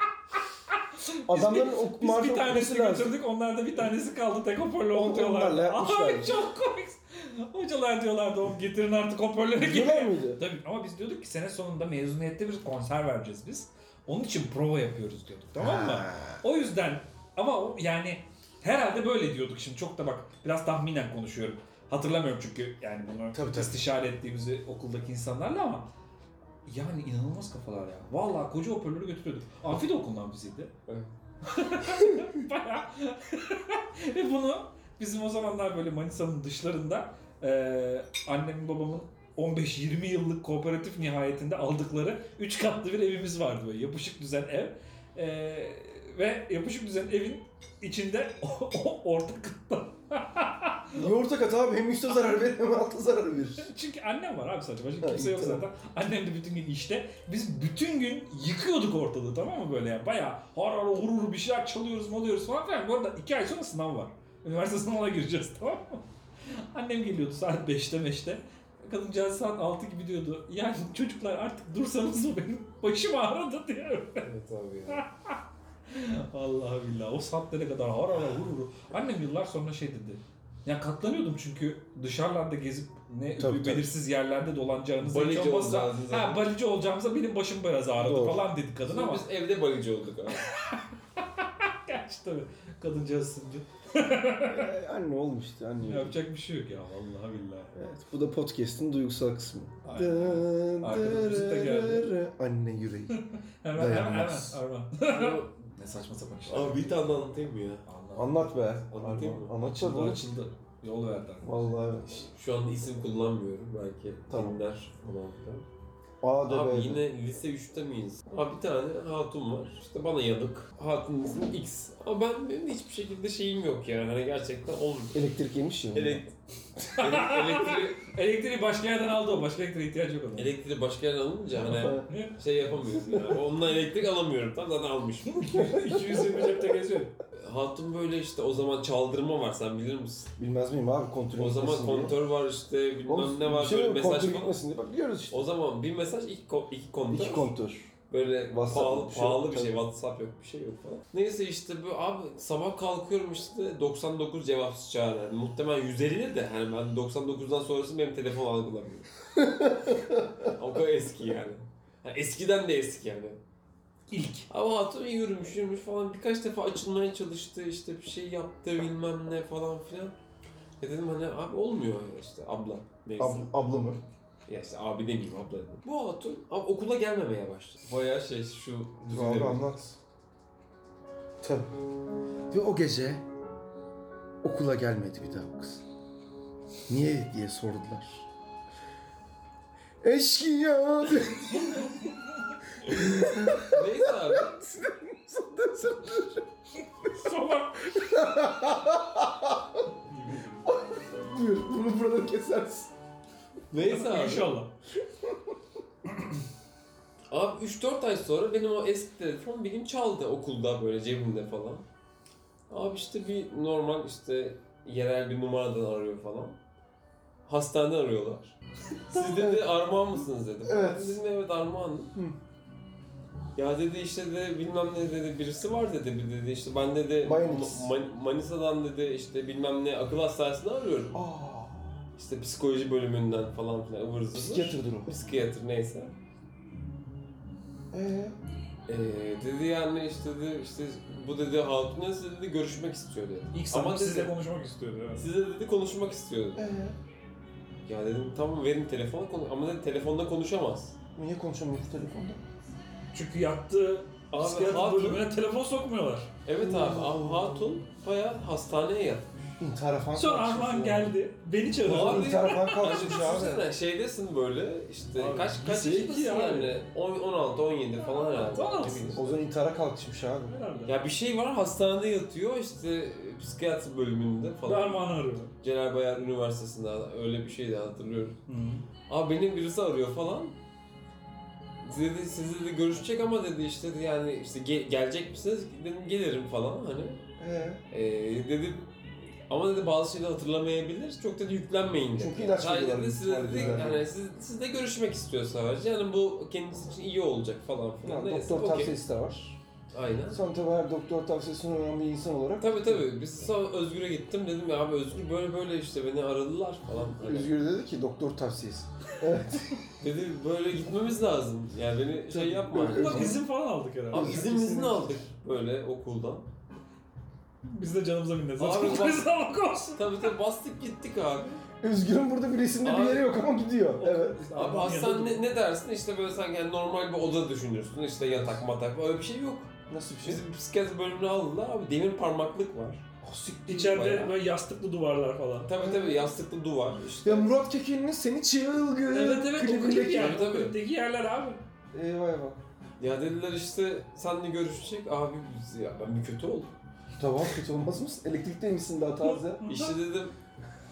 B: Adamların ok
C: Biz
B: marşı
C: bir tanesini
B: okuması lazım.
C: götürdük. Onlarda bir tanesi kaldı. Tek hoparlör
B: On- onlarla
C: unutuyorlar.
B: yapmışlar.
C: Abi çok komik. Hocalar diyorlardı oğlum getirin artık hoparlörü
B: Diyorlar
C: getirin.
B: mıydı?
C: Tabii ama biz diyorduk ki sene sonunda mezuniyette bir konser vereceğiz biz. Onun için prova yapıyoruz diyorduk tamam mı? O yüzden ama o yani herhalde böyle diyorduk şimdi çok da bak biraz tahminen konuşuyorum. Hatırlamıyorum çünkü yani bunu
B: Tabii, tabii.
C: istişare ettiğimizi okuldaki insanlarla ama yani inanılmaz kafalar ya. Vallahi koca hoparlörü götürüyorduk. Amfi de okulun amfisiydi.
A: Evet.
C: Bayağı. Ve bunu bizim o zamanlar böyle Manisa'nın dışlarında eee annemin babamın 15-20 yıllık kooperatif nihayetinde aldıkları 3 katlı bir evimiz vardı böyle yapışık düzen ev. Eee, ve yapışık düzen evin içinde o, o orta kıtta.
B: Niye ortak at abi? Hem üstte zarar verir hem altta zarar verir.
C: Çünkü annem var abi sadece başka
B: Ha,
C: kimse yok
B: iyi, tamam.
C: zaten. Annem de bütün gün işte. Biz bütün gün yıkıyorduk ortalığı tamam mı böyle yani bayağı har har hur hur bir şeyler çalıyoruz malıyoruz falan filan. Bu arada iki ay sonra sınav var. Üniversite sınavına gireceğiz tamam mı? Annem geliyordu saat 5'te 5'te. Kadıncağız saat 6 gibi diyordu. Yani çocuklar artık dursanız mı benim başım ağrıdı diyor.
A: Evet abi ya.
C: Allah billah o saatlere kadar har har hur hur. Annem yıllar sonra şey dedi. Ya katlanıyordum çünkü dışarılarda gezip ne
B: Tabii, tabii.
C: belirsiz yerlerde dolanacağınız
A: Balıcı
C: hiç olmazsa-
A: olacağınız
C: Ha
A: zaman.
C: balıcı olacağımıza benim başım biraz ağrıdı
B: Doğru.
C: falan dedi kadın ama
A: Biz evde balıcı olduk abi.
C: gerçi tabii kadıncağız sındı.
B: Ee, anne olmuştu anne.
C: Yapacak bir şey yok ya vallahi billahi.
B: Evet, bu da podcast'in duygusal kısmı. Dın,
C: Arkada müzik de geldi.
B: dırırı. Anne yüreği.
C: Hemen hemen hemen
B: Dayanılmaz.
C: Arman.
A: Ama-
C: Ne saçma sapan işler.
A: abi bir tane anlatayım mı ya?
C: Allah.
B: Anlat be.
A: Anlatayım mı?
B: Anlat
C: Açıldı
B: tabii.
C: açıldı. Yol verdi. arkadaş.
B: Vallahi evet.
A: Şu an isim kullanmıyorum belki.
B: Tamam.
A: Dinler falan filan.
B: Aa da
A: Abi
B: be.
A: yine lise 3'te miyiz? Abi bir tane hatun var. İşte bana yanık. Hatunun ismi X. Ama ben benim de hiçbir şekilde şeyim yok yani. Hani gerçekten olmuyor.
B: Elektrik yemiş ya.
A: Elek... Elek... Elektriği...
C: Elektriği başka yerden aldı o. Başka elektriğe ihtiyacı yok onun.
A: Elektriği başka yerden alınca hani şey yapamıyorum yani. Onunla elektrik alamıyorum. Tam zaten almışım.
C: 220 cepte geziyor.
A: Hatun böyle işte o zaman çaldırma var sen bilir misin?
B: Bilmez miyim abi kontrol
A: O zaman
B: gitmesin diye.
A: kontör var işte bilmem
B: Oğlum,
A: ne var
B: bir şey
A: böyle
B: yok,
A: mesaj
B: kontör
A: falan.
B: gitmesin diye. Bak biliyoruz işte.
A: O zaman bir mesaj iki, ko- iki kontör.
B: İki kontör.
A: Böyle
B: WhatsApp
A: pahalı,
B: bir şey
A: pahalı
B: yok,
A: bir şey.
B: tabii.
A: WhatsApp yok bir şey yok falan. Neyse işte bu abi sabah kalkıyorum işte 99 cevapsız çağrı. Yani muhtemelen 150 de hani ben 99'dan sonrası benim telefon algılamıyor. o kadar eski yani. Yani Eskiden de eski yani.
C: İlk.
A: Ama hatun yürümüş yürümüş falan birkaç defa açılmaya çalıştı işte bir şey yaptı bilmem ne falan filan. E dedim hani abi olmuyor ya işte abla. Neyse.
B: Ab, abla mı?
A: Ya işte abi demeyeyim abla dedim. Bu hatun abi okula gelmemeye başladı. Bayağı şey şu
B: Abi
A: düzgün.
B: anlat. Tabii. Ve o gece okula gelmedi bir daha bu kız. Niye diye sordular. Eşkıya.
A: Neyse abi.
E: Salak.
B: Buyur bunu buradan kesersin.
A: Neyse abi.
E: İnşallah.
A: Abi 3-4 ay sonra benim o eski telefon benim çaldı okulda böyle cebimde falan. Abi işte bir normal işte yerel bir numaradan arıyor falan. Hastaneden arıyorlar. Siz dedi Armağan mısınız dedi.
B: Evet.
A: Dedim evet Armağan. Ya dedi işte de bilmem ne dedi birisi var dedi bir dedi işte ben dedi
B: Mayonez.
A: Ma- Man- Manisa'dan dedi işte bilmem ne akıl hastanesini arıyorum.
B: Aa,
A: İşte psikoloji bölümünden falan filan ıvır zıvır.
B: psikiyatrdır o.
A: Psikiyatr neyse.
B: Ee,
A: Ee, dedi yani işte dedi işte bu dedi Hatun Öz dedi görüşmek istiyor dedi.
C: İlk
A: Ama
C: sanırım sizle
A: dedi,
C: konuşmak istiyordu. Evet.
A: size dedi konuşmak istiyor dedi.
B: ee.
A: Ya dedim tamam verin telefonu konu ama dedi telefonda konuşamaz.
B: Niye konuşamıyoruz telefonda?
C: Çünkü yattığı
A: Abi
C: psikiyatri
A: Hatun-
C: bölümüne telefon sokmuyorlar.
A: Evet abi abi Hatun bayağı hastaneye yattı.
B: İntihara falan
C: Sonra
B: kalkışmış
C: Armağan
B: ya.
C: geldi. Beni çağırdı.
A: Abi-
B: İntihara falan
A: Yani
B: kalkışmış abi.
A: düşünsene şeydesin böyle işte
C: Abi,
A: kaç kaç
C: lise
A: yaşındasın
C: iki abi.
A: yani 10 16 17 falan herhalde.
C: Tamam.
A: Ne bileyim.
B: O zaman intihara kalkışmış abi.
C: Herhalde.
A: Ya bir şey var hastanede yatıyor işte psikiyatri bölümünde
C: Ve
A: falan.
C: Armağan'ı arıyor.
A: Celal Bayar Üniversitesi'nde öyle bir şeydi hatırlıyorum. Abi benim birisi arıyor falan. Dedi sizi de görüşecek ama dedi işte yani işte ge- gelecek misiniz? Dedim gelirim falan hani.
B: Ee,
A: Ee, dedi ama dedi bazı şeyleri hatırlamayabilir. Çok dedi yüklenmeyin dedi.
B: Çünkü ilaç
A: Sadece
B: veriyorlar
A: dedi,
B: büyük
A: size
B: ihtimalle
A: dedi,
B: yani.
A: yani siz, siz de görüşmek istiyor sadece. Yani bu kendisi için iyi olacak falan filan.
B: yani
A: Neyse,
B: doktor
A: okey.
B: tavsiyesi de var.
A: Aynen.
B: Sen tabii her doktor tavsiyesini önemli bir insan olarak
A: Tabii tabii. Biz sonra Özgür'e gittim. Dedim ya abi Özgür böyle böyle işte beni aradılar falan. Hani
B: Özgür dedi ki doktor tavsiyesi. Evet.
A: dedi böyle gitmemiz lazım. Yani beni şey
B: Tabii,
A: yapma.
B: öyle-
C: Bak izin falan aldık herhalde.
A: Abi izin izin aldık böyle okuldan.
C: Biz de canımıza minnet.
A: Abi
C: Abi
A: bak-
C: sağlık olsun.
A: Tabii tabii bastık gittik abi.
B: Özgür'ün burada bir resimde bir
A: Abi-
B: yere yok ama gidiyor. Evet.
A: Abi hastane ne, ne dersin işte böyle sanki yani normal bir oda düşünürsün işte yatak matak öyle bir şey yok.
B: Nasıl bir şey?
A: Bizim psikiyatri bölümüne aldılar abi demir parmaklık var.
B: Ah, siktir.
C: İçeride
A: Bayağı.
C: böyle yastıklı duvarlar falan.
A: Tabii tabii yastıklı duvar işte.
B: Ya Murat Kekin'in seni çılgın
C: Evet evet o klip
B: klibindeki-
C: yani.
A: Tabii, tabii.
C: Klipteki yerler abi.
B: Eyvah bak.
A: Ya dediler işte seninle görüşecek abi biz ya ben bir kötü oldum.
B: Tamam kötü olmaz mısın? Elektrikteymişsin daha taze.
A: İşte dedim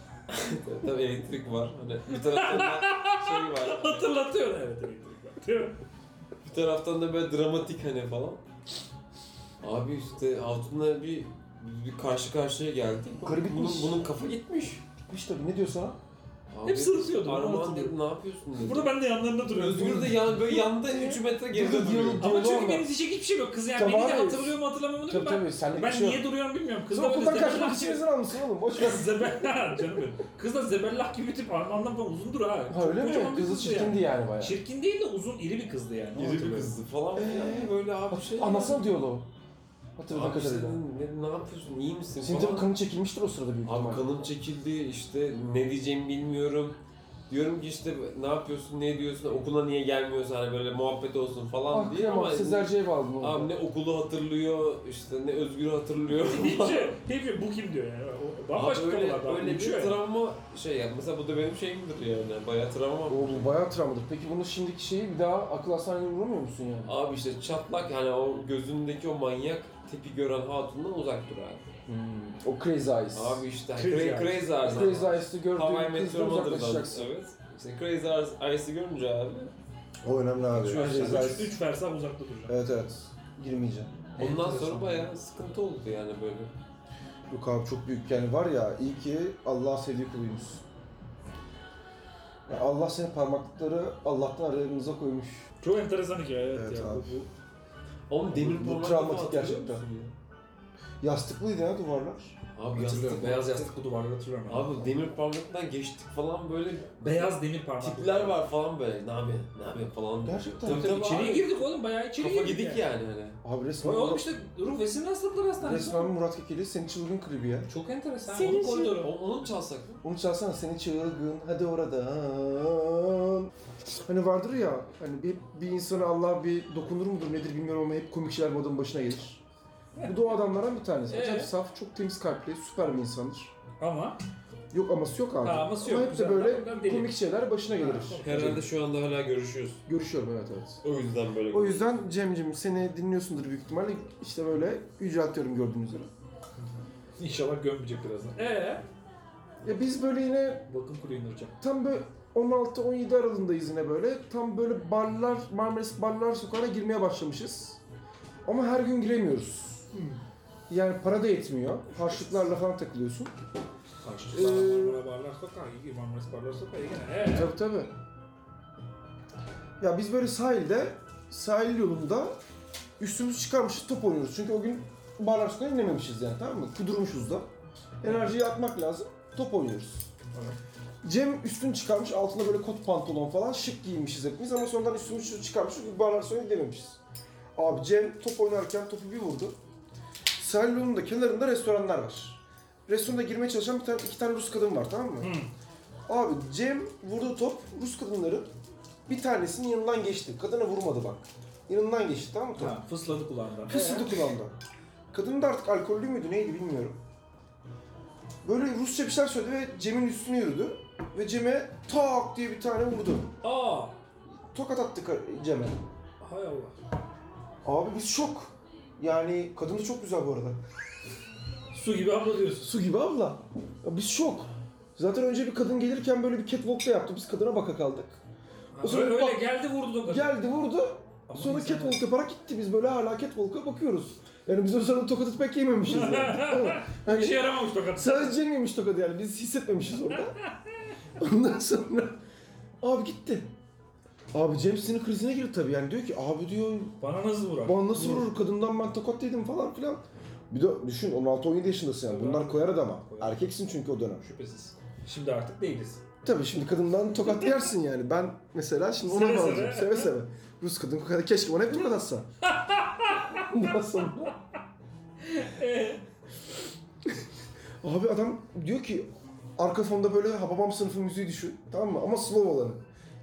A: tabii elektrik var hani bir taraftan da şey var. hani,
C: Hatırlatıyor. Evet evet. evet. Değil mi?
A: bir taraftan da böyle dramatik hani falan. Abi işte altında bir bir karşı karşıya geldik.
B: Garip
A: Bunun,
B: gitmiş.
A: bunun kafa gitmiş.
B: Gitmiş tabii ne diyor sana?
A: Abi,
C: Hep sırıtıyordu, onu
A: Armağan
C: hatırlıyorum.
A: dedi ne yapıyorsun dedi.
C: Burada ben de yanlarında duruyorum.
A: Özgür de yan, böyle yanda 3 metre geride
B: Burada
A: duruyor.
B: diyalog-
C: Ama çünkü
B: Diyorlar
C: benim
B: mı?
C: diyecek hiçbir şey yok. Kız yani
B: Tamam
C: beni de
B: abi.
C: hatırlıyor mu hatırlamıyor mu
B: Tabii
C: ben.
B: tabii senlik bir
C: Ben
B: şey
C: niye
B: yok.
C: duruyorum bilmiyorum. Kız
B: Sen
C: da böyle
B: okuldan kaçmak
C: zebellah
B: için
C: gibi-
B: izin almışsın oğlum boş ver.
C: Zebellah canım benim. Kız da zebellah gibi bir tip Arman'dan falan uzundur ha.
B: Ha
C: Çok
B: öyle mi?
C: kocaman bir
B: Kızı
C: kızdı yani.
B: çirkindi yani bayağı.
C: Çirkin değil de uzun iri bir kızdı yani.
A: İri bir
C: Hatırlıyorum.
A: kızdı falan filan
B: Ee,
A: böyle abi şey.
B: Anasını diyordu o. Hatırladığım
A: Abi işte
B: kadarıyla.
A: dedim, ne, ne yapıyorsun iyi misin
B: Senin tabii
A: falan.
B: kanın çekilmiştir o sırada büyük
A: Abi
B: ihtimalle.
A: kanım çekildi işte ne diyeceğimi bilmiyorum. Diyorum ki işte ne yapıyorsun ne ediyorsun okula niye gelmiyorsun hani böyle muhabbet olsun falan
B: Ah
A: diye ama
B: kıyamam Sezer Cev aldın orada.
A: abi ne okulu hatırlıyor işte ne Özgür'ü hatırlıyor.
C: Hiçbir şey, hiçbir şey. Bu kim diyor yani. O- Bambaşka
A: Abi öyle,
C: konularda.
A: öyle bir
C: Uçuyor yani.
A: travma şey ya mesela bu da benim şeyimdir yani bayağı travma.
B: O bu bayağı travmadır. Peki bunu şimdiki şeyi bir daha akıl hastanesine uğramıyor musun yani?
A: Abi işte çatlak yani o gözündeki o manyak tipi gören hatundan uzak dur abi.
B: Hmm, O Crazy Eyes.
A: Abi işte hani
C: Crazy
A: cra-
C: Eyes.
A: crazy eyes. ama.
B: Crazy Eyes'te
A: Hawaii
B: gördüğün kızdan
A: Metro Mother'dan.
B: uzaklaşacaksın.
A: Evet. İşte Crazy Eyes- Eyes'i görünce abi
B: O önemli abi.
A: Şu an
B: Crazy
A: işte
B: Eyes.
C: Üç, üç fersah uzakta duracak.
B: Evet evet. Girmeyeceğim.
A: ondan
C: Enteresan.
A: sonra bayağı sıkıntı oldu yani böyle.
B: Yok abi çok büyük yani var ya iyi ki Allah sevdiği kuluymuş. Ya Allah senin parmaklıkları Allah'tan aranıza koymuş.
C: Çok enteresan hikaye. Evet,
B: Evet
C: ya.
B: abi.
C: Bu- bu-
A: Ama demir
B: Bu
A: parmakla
B: travmatik
A: hatırlıyor
B: gerçekten.
A: musun ya?
B: Yastıklıydı ya duvarlar.
A: Abi
E: Hatırlıyorum.
A: yastık,
E: Beyaz
A: yastık.
E: yastıklı duvarları hatırlıyorum. Abi.
A: Abi demir parmaktan geçtik falan böyle
E: Beyaz demir parmak.
A: tipler var falan böyle. Ne yapayım? Ne yapayım falan.
B: Gerçekten.
A: Tabii
E: Tabii
A: tabii
E: içeriye
A: abi.
E: girdik oğlum bayağı içeri
A: Kafa
E: girdik.
A: gidik yani hani.
B: Abi resmen,
E: Oy oğlum
B: Murat,
E: işte ruh ve sinir hastalıkları hastanesi.
B: resmen Murat Kekeli senin çılgın klibi ya.
E: Çok enteresan.
F: Senin
E: Onun
F: için-
A: O-
E: koridoru.
A: Onu mu çalsak? mı?
B: Onu çalsana seni çılgın hadi oradan. Hani vardır ya hani bir, bir insana Allah bir dokunur mudur nedir bilmiyorum ama hep komik şeyler bu adamın başına gelir. Bu da o adamlardan bir tanesi. Acayip
E: Ee?
B: saf, çok temiz kalpli, süper bir insandır.
E: Ama
B: Yok aması yok abi.
E: Ha, aması yok,
B: Ama hep de
E: güzel.
B: böyle
E: Adam deli.
B: komik şeyler başına gelir.
A: Herhalde şu anda hala görüşüyoruz.
B: Görüşüyorum evet evet.
A: O yüzden böyle.
B: O yüzden Cem'cim seni dinliyorsundur büyük ihtimalle. İşte böyle yüceltiyorum gördüğünüz üzere.
C: İnşallah gömmeyecek birazdan.
E: ee
B: Ya biz böyle yine
C: Bakın kuru indireceğim.
B: Tam böyle 16-17 aralığındayız yine böyle. Tam böyle barlar, Marmaris barlar sokağına girmeye başlamışız. Ama her gün giremiyoruz. Yani para da yetmiyor. Harçlıklarla falan takılıyorsun.
C: Karşımızda
B: Ee,
C: Marmara Barlar Sokağı, iyi Marmaris Barlar Sokağı gene.
E: ee
B: Tabii tabii. Ya biz böyle sahilde, sahil yolunda üstümüzü çıkarmışız top oynuyoruz. Çünkü o gün barlar sokağına inememişiz yani tamam mı? Kudurmuşuz da. Enerjiyi atmak lazım. Top oynuyoruz. Cem üstünü çıkarmış altında böyle kot pantolon falan şık giymişiz hepimiz ama sonradan üstümüzü çıkarmış çünkü barlar sonra gidememişiz. Abi Cem top oynarken topu bir vurdu. Sahil yolunun da kenarında restoranlar var. Restorana girmeye çalışan bir tane, iki tane Rus kadın var tamam mı? Abi Cem vurduğu top Rus kadınların bir tanesinin yanından geçti. Kadına vurmadı bak. Yanından geçti tamam mı? Top?
C: Ha, fısladı kulağımdan.
B: Kısıldı kulağımda. Kadın da artık alkollü müydü neydi bilmiyorum. Böyle Rusça bir şeyler söyledi ve Cem'in üstüne yürüdü. Ve Cem'e tak diye bir tane vurdu.
E: Aa.
B: Tokat attı kar- Cem'e.
E: Hay Allah.
B: Abi biz şok. Yani kadın da çok güzel bu arada.
C: Su gibi abla diyorsun.
B: Su gibi abla. Ya biz şok. Zaten önce bir kadın gelirken böyle bir catwalk da yaptı. Biz kadına baka kaldık. O sonra
E: Öyle,
B: bak-
E: öyle geldi vurdu tokadı.
B: Geldi vurdu. Sonra catwalk yaparak gitti. Biz böyle hala catwalk'a bakıyoruz. Yani biz o sırada tokat atmak yememişiz yani.
E: Bir şey yaramamış tokat.
B: Sadece Cem yemiş tokadı yani biz hissetmemişiz orada. Ondan sonra abi gitti. Abi Cem sinir krizine girdi tabii yani diyor ki abi diyor
C: Bana nasıl vurar?
B: bana nasıl vurur kadından ben tokat yedim falan filan. Bir de düşün 16-17 yaşındasın yani bunlar koyar adama. Erkeksin çünkü o dönem.
C: Şüphesiz. Şimdi artık değiliz.
B: Tabii şimdi kadından tokat yersin yani. Ben mesela şimdi ona
E: Seve seve.
B: bağlayacağım. Seve seve. Rus kadın kadar keşke bana hep tokat atsa. Ondan sonra... Abi adam diyor ki arka fonda böyle Hababam sınıfı müziği düşün. Tamam mı? Ama slow olanı.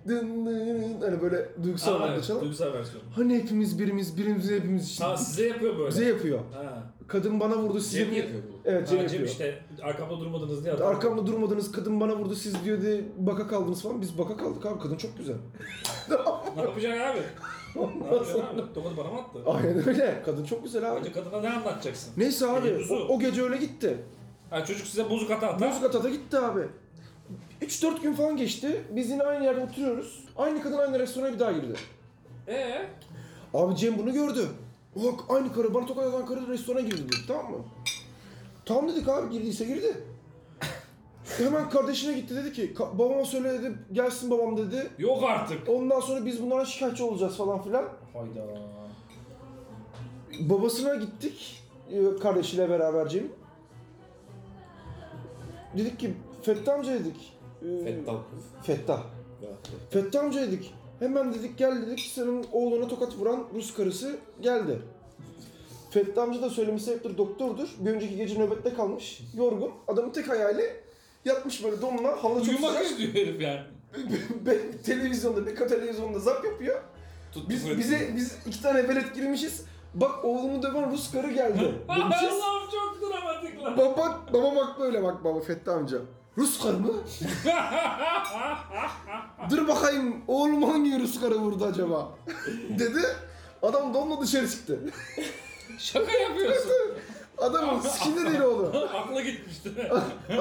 B: Dın dın dın, Hani böyle duygusal
C: Aa,
B: olarak
C: evet,
B: çalan.
C: duygusal versiyon.
B: Hani hepimiz birimiz, birimiz hepimiz için.
C: Ha size yapıyor böyle.
B: Bize yapıyor.
C: Ha.
B: Kadın bana vurdu, size
C: Cem
B: mi?
C: yapıyor bunu.
B: Evet, Cem
C: Ha,
B: yapıyor.
C: işte arkamda durmadınız diye. adam-
B: Arkamda durmadınız, kadın bana vurdu, siz diyor diye baka kaldınız falan. Biz baka kaldık abi, kadın çok güzel.
E: Ne yapacaksın abi?
C: Ne yapacaksın abi? Tokadı bana mı attı?
B: Aynen öyle. Kadın çok güzel abi.
E: Önce kadına ne anlatacaksın?
B: Neyse abi o,
E: Mevzu.
B: o gece öyle gitti.
E: Ha, çocuk size bozuk hata atar.
B: Bozuk Ata'da gitti abi. 3-4 gün falan geçti. Biz yine aynı yerde oturuyoruz. Aynı kadın aynı restorana bir daha girdi.
E: Ee?
B: Abi Cem bunu gördü. Bak aynı karı bana tokat atan karı restorana girdi dedi tamam mı? Tamam dedik abi girdiyse girdi. Hemen kardeşine gitti dedi ki "Ka- babama söyle dedi gelsin babam dedi.
E: Yok artık.
B: Ondan sonra biz bunlara şikayetçi olacağız falan filan.
C: Hayda.
B: Babasına gittik e, kardeşiyle beraber Cem. Dedik ki Fettah amca dedik. e,
A: Fettan.
B: Fettah. Fettah amca dedik. Hemen dedik gel dedik senin oğluna tokat vuran Rus karısı geldi. Fettah amca da söylemesi heptir doktordur. Bir önceki gece nöbette kalmış. Yorgun. Adamın tek hayali yatmış böyle donla halı çok
E: Uyumak
B: sıcak.
E: istiyor herif yani.
B: Be- televizyonda, Beko televizyonda zap yapıyor.
A: Tut küfür
B: Biz
A: et.
B: bize biz iki tane velet girmişiz. Bak oğlumu döven Rus karı geldi. Demişiz.
E: Allah'ım çok dramatik lan.
B: baba bak, baba bak böyle bak baba Fethi amca. Rus karı mı? Dur bakayım oğlum hangi Rus karı vurdu acaba? dedi. Adam donla dışarı çıktı. şey-
E: Şaka yapıyorsun.
B: Adamın sikinde değil oğlu.
E: Akla gitmişti.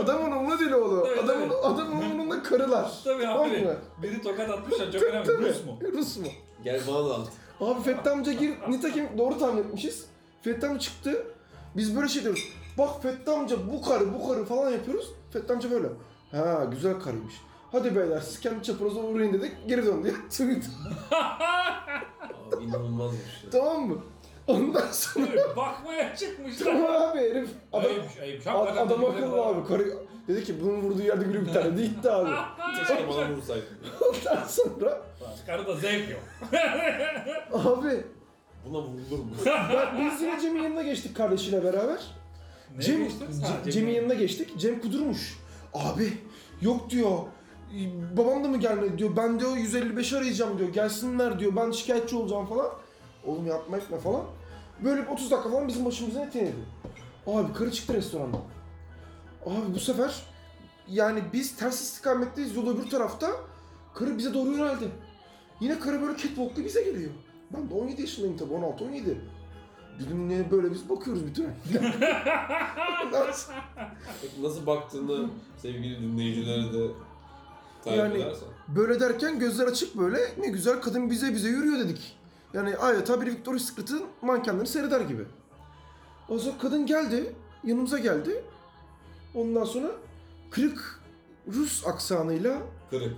B: Adamın umurunda değil oğlu.
E: Evet,
B: Adamın,
E: evet.
B: adamın umurunda karılar.
E: Tabii
B: Tamam
E: abi.
B: mı?
E: Biri tokat atmışlar çok önemli. Rus mu?
B: Rus mu?
A: Gel bana da al.
B: Abi Fethi amca gir, nitekim doğru tahmin etmişiz. Fethi amca çıktı, biz böyle şey diyoruz. Bak Fethi amca bu karı bu karı falan yapıyoruz. Fethi amca böyle. Ha güzel karıymış. Hadi beyler siz kendi çapınıza uğrayın dedik. Geri döndü. Sonra-
A: Abi inanılmaz bir şey.
B: tamam mı? Ondan sonra
E: Bakmaya çıkmışlar.
B: tamam abi herif. Adam,
E: ayıp, ayıp.
B: ad-
E: Hakikaten
B: adam
E: ayıp.
B: akıllı abi. Karı, dedi ki bunun vurduğu yerde gülü bir tane. Değil de abi.
A: Keşke bana vursaydı.
B: Ondan sonra
E: Karıda zevk yok.
B: abi
A: Buna vurulur mu?
B: ben, biz yine Cem'in yanına geçtik kardeşiyle beraber.
E: Ne
B: Cem,
E: geçtiniz? Ha,
B: Ce-
E: Cem'in
B: Cem'in
E: yanına.
B: yanına geçtik. Cem kudurmuş. Abi yok diyor. Babam da mı gelmedi diyor. Ben diyor 155 arayacağım diyor. Gelsinler diyor. Ben şikayetçi olacağım falan. Oğlum yapma etme falan. Böyle bir 30 dakika falan bizim başımıza ne tenedi. Abi karı çıktı restorandan. Abi bu sefer yani biz ters istikametteyiz. Yol öbür tarafta. Karı bize doğru yöneldi. Yine karı böyle catwalk'la bize geliyor. Ben de 17 yaşındayım tabii 16-17. Dedim ne böyle biz bakıyoruz bütün Ondan sonra-
A: Peki Nasıl baktığını sevgili dinleyicilere de tarif
B: Yani-
A: edersen.
B: Böyle derken gözler açık böyle ne güzel kadın bize bize yürüyor dedik. Yani adeta bir Victoria's Secret'ın mankenlerini seyreder gibi. O sonra kadın geldi, yanımıza geldi. Ondan sonra kırık Rus aksanıyla,
A: Kırık.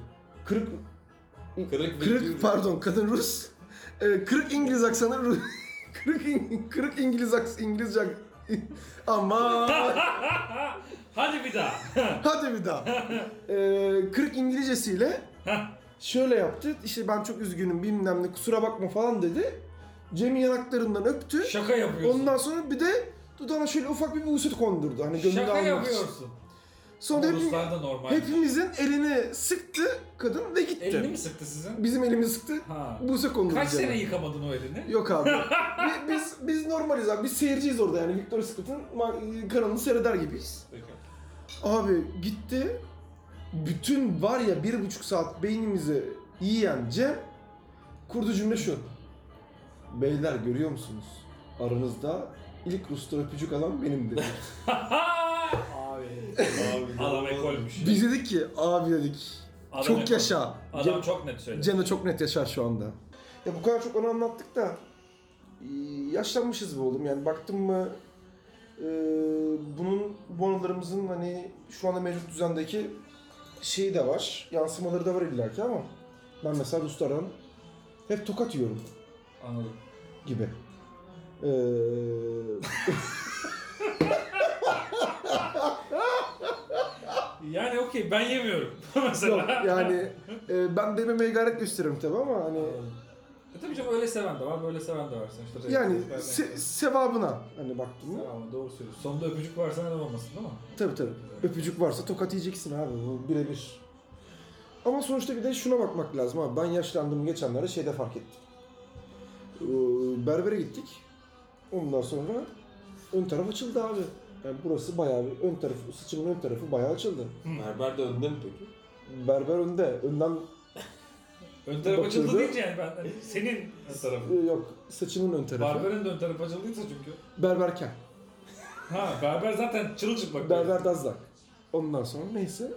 B: kırık,
A: Kırık,
B: kırık pardon kadın Rus, Ee, kırık İngiliz aksanı, Ru- kırık, İng- kırık İngiliz aks, İngilizce ama
E: Hadi bir daha.
B: hadi bir daha. Ee, kırık İngilizcesiyle şöyle yaptı. İşte ben çok üzgünüm bilmem ne kusura bakma falan dedi. Cem'in yanaklarından öptü.
E: Şaka yapıyorsun.
B: Ondan sonra bir de dudağına şöyle ufak bir buset kondurdu. Hani gönlünü
E: Şaka
B: almak için.
E: yapıyorsun.
B: Sonra hepim-
E: Ruslar da normal.
B: hepimizin elini sıktı kadın ve gitti.
E: Elini mi sıktı sizin?
B: Bizim elimizi sıktı.
E: Ha.
B: Buse kondurdu.
E: Kaç
B: Cem'e.
E: sene yıkamadın o elini?
B: Yok abi. Bi- biz biz normaliz abi. Biz seyirciyiz orada yani. Victoria's Secret'ın ma- kanalını seyreder gibiyiz. Abi gitti. Bütün var ya bir buçuk saat beynimizi yiyen Cem kurdu cümle şu. Beyler görüyor musunuz? Aranızda ilk Rus'ta öpücük alan benim dedi.
E: Abi.
A: Abi,
E: Adam ekolmüş.
B: Biz dedik ki abi dedik
E: Adam
B: çok
E: ekol.
B: yaşa.
E: Adam
B: Cem,
E: çok net söyledi.
B: Cem de çok net yaşar şu anda. Ya bu kadar çok onu anlattık da e, yaşlanmışız be oğlum yani baktın mı e, bunun bu anılarımızın hani şu anda mevcut düzendeki şeyi de var yansımaları da var illaki ama ben mesela Ruslardan hep tokat yiyorum
E: Anladım.
B: gibi. E,
E: Yani okey ben yemiyorum. Mesela.
B: yok yani e, ben dememeye gayret gösteririm tabii ama hani
E: E tabii canım öyle seven de var, böyle seven de var. Sen işte
B: yani
E: renkli,
B: se-
E: renkli.
B: sevabına hani baktın mı
E: Tamam doğru söylüyorsun. Sonunda öpücük varsa neden olmasın değil mi?
B: Tabii tabii. Öpücük varsa tokat yiyeceksin abi. Bu birebir. Ama sonuçta bir de şuna bakmak lazım abi. Ben yaşlandım geçenlerde şeyde fark ettim. Ee, Berbere gittik. Ondan sonra ön taraf açıldı abi. Yani burası bayağı bir ön tarafı, saçımın ön tarafı bayağı açıldı.
A: Berber de önde mi peki?
B: Berber önde. Önden
E: Ön taraf açıldı
B: Bakıldı.
E: deyince yani ben hani senin ön tarafın.
B: e, yok. Saçımın ön tarafı.
E: Barber'in de ön tarafı açıldıysa çünkü.
B: Berberken.
E: Ha berber zaten çırılçıplak.
B: Berber Dazlak. Ondan sonra neyse.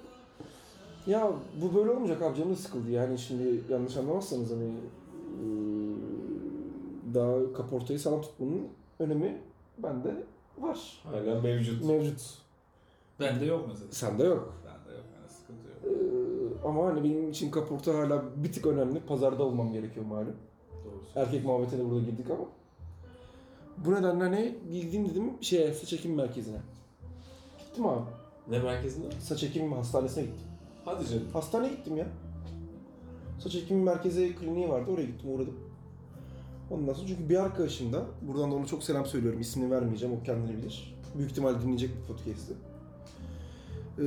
B: Ya bu böyle olmayacak abi canım sıkıldı yani şimdi yanlış anlamazsanız hani eee, daha kaportayı sağlam tutmanın önemi bende var.
A: Hala mevcut.
B: Mevcut.
E: Bende yok mesela.
B: Sende yok.
E: Bende yok yani sıkıntı yok.
B: Eee, ama hani benim için kaporta hala bir tık önemli. Pazarda olmam gerekiyor malum.
E: Doğru söylüyorsun.
B: Erkek muhabbetine de burada girdik ama. Bu nedenle hani gittim dedim şeye saç ekim merkezine. Gittim abi.
A: Ne merkezinde?
B: Saç ekim hastanesine gittim.
A: Hadi canım.
B: Hastaneye gittim ya. Saç ekimi merkezi kliniği vardı. Oraya gittim uğradım. Ondan sonra çünkü bir arkadaşım da buradan da ona çok selam söylüyorum. İsmini vermeyeceğim. O kendini bilir. Büyük ihtimal dinleyecek bu podcast'i. Ee,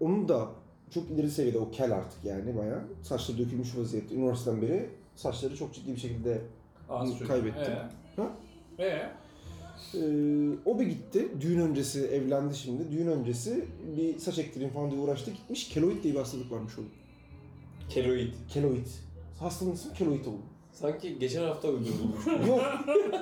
B: onun da çok ileri seviyede o kel artık yani bayağı. Saçları dökülmüş vaziyette. Üniversiteden beri saçları çok ciddi bir şekilde
E: Az çok.
B: kaybettim.
E: Ee?
B: Ha?
E: Ee?
B: Ee, o bir gitti. Düğün öncesi evlendi şimdi. Düğün öncesi bir saç ektireyim falan diye uğraştı. Gitmiş keloid diye bir hastalık varmış onun.
A: Keloid.
B: Keloid. Hastalığın ismi keloid oldu.
A: Sanki geçen hafta uydurulmuş.
B: Yok.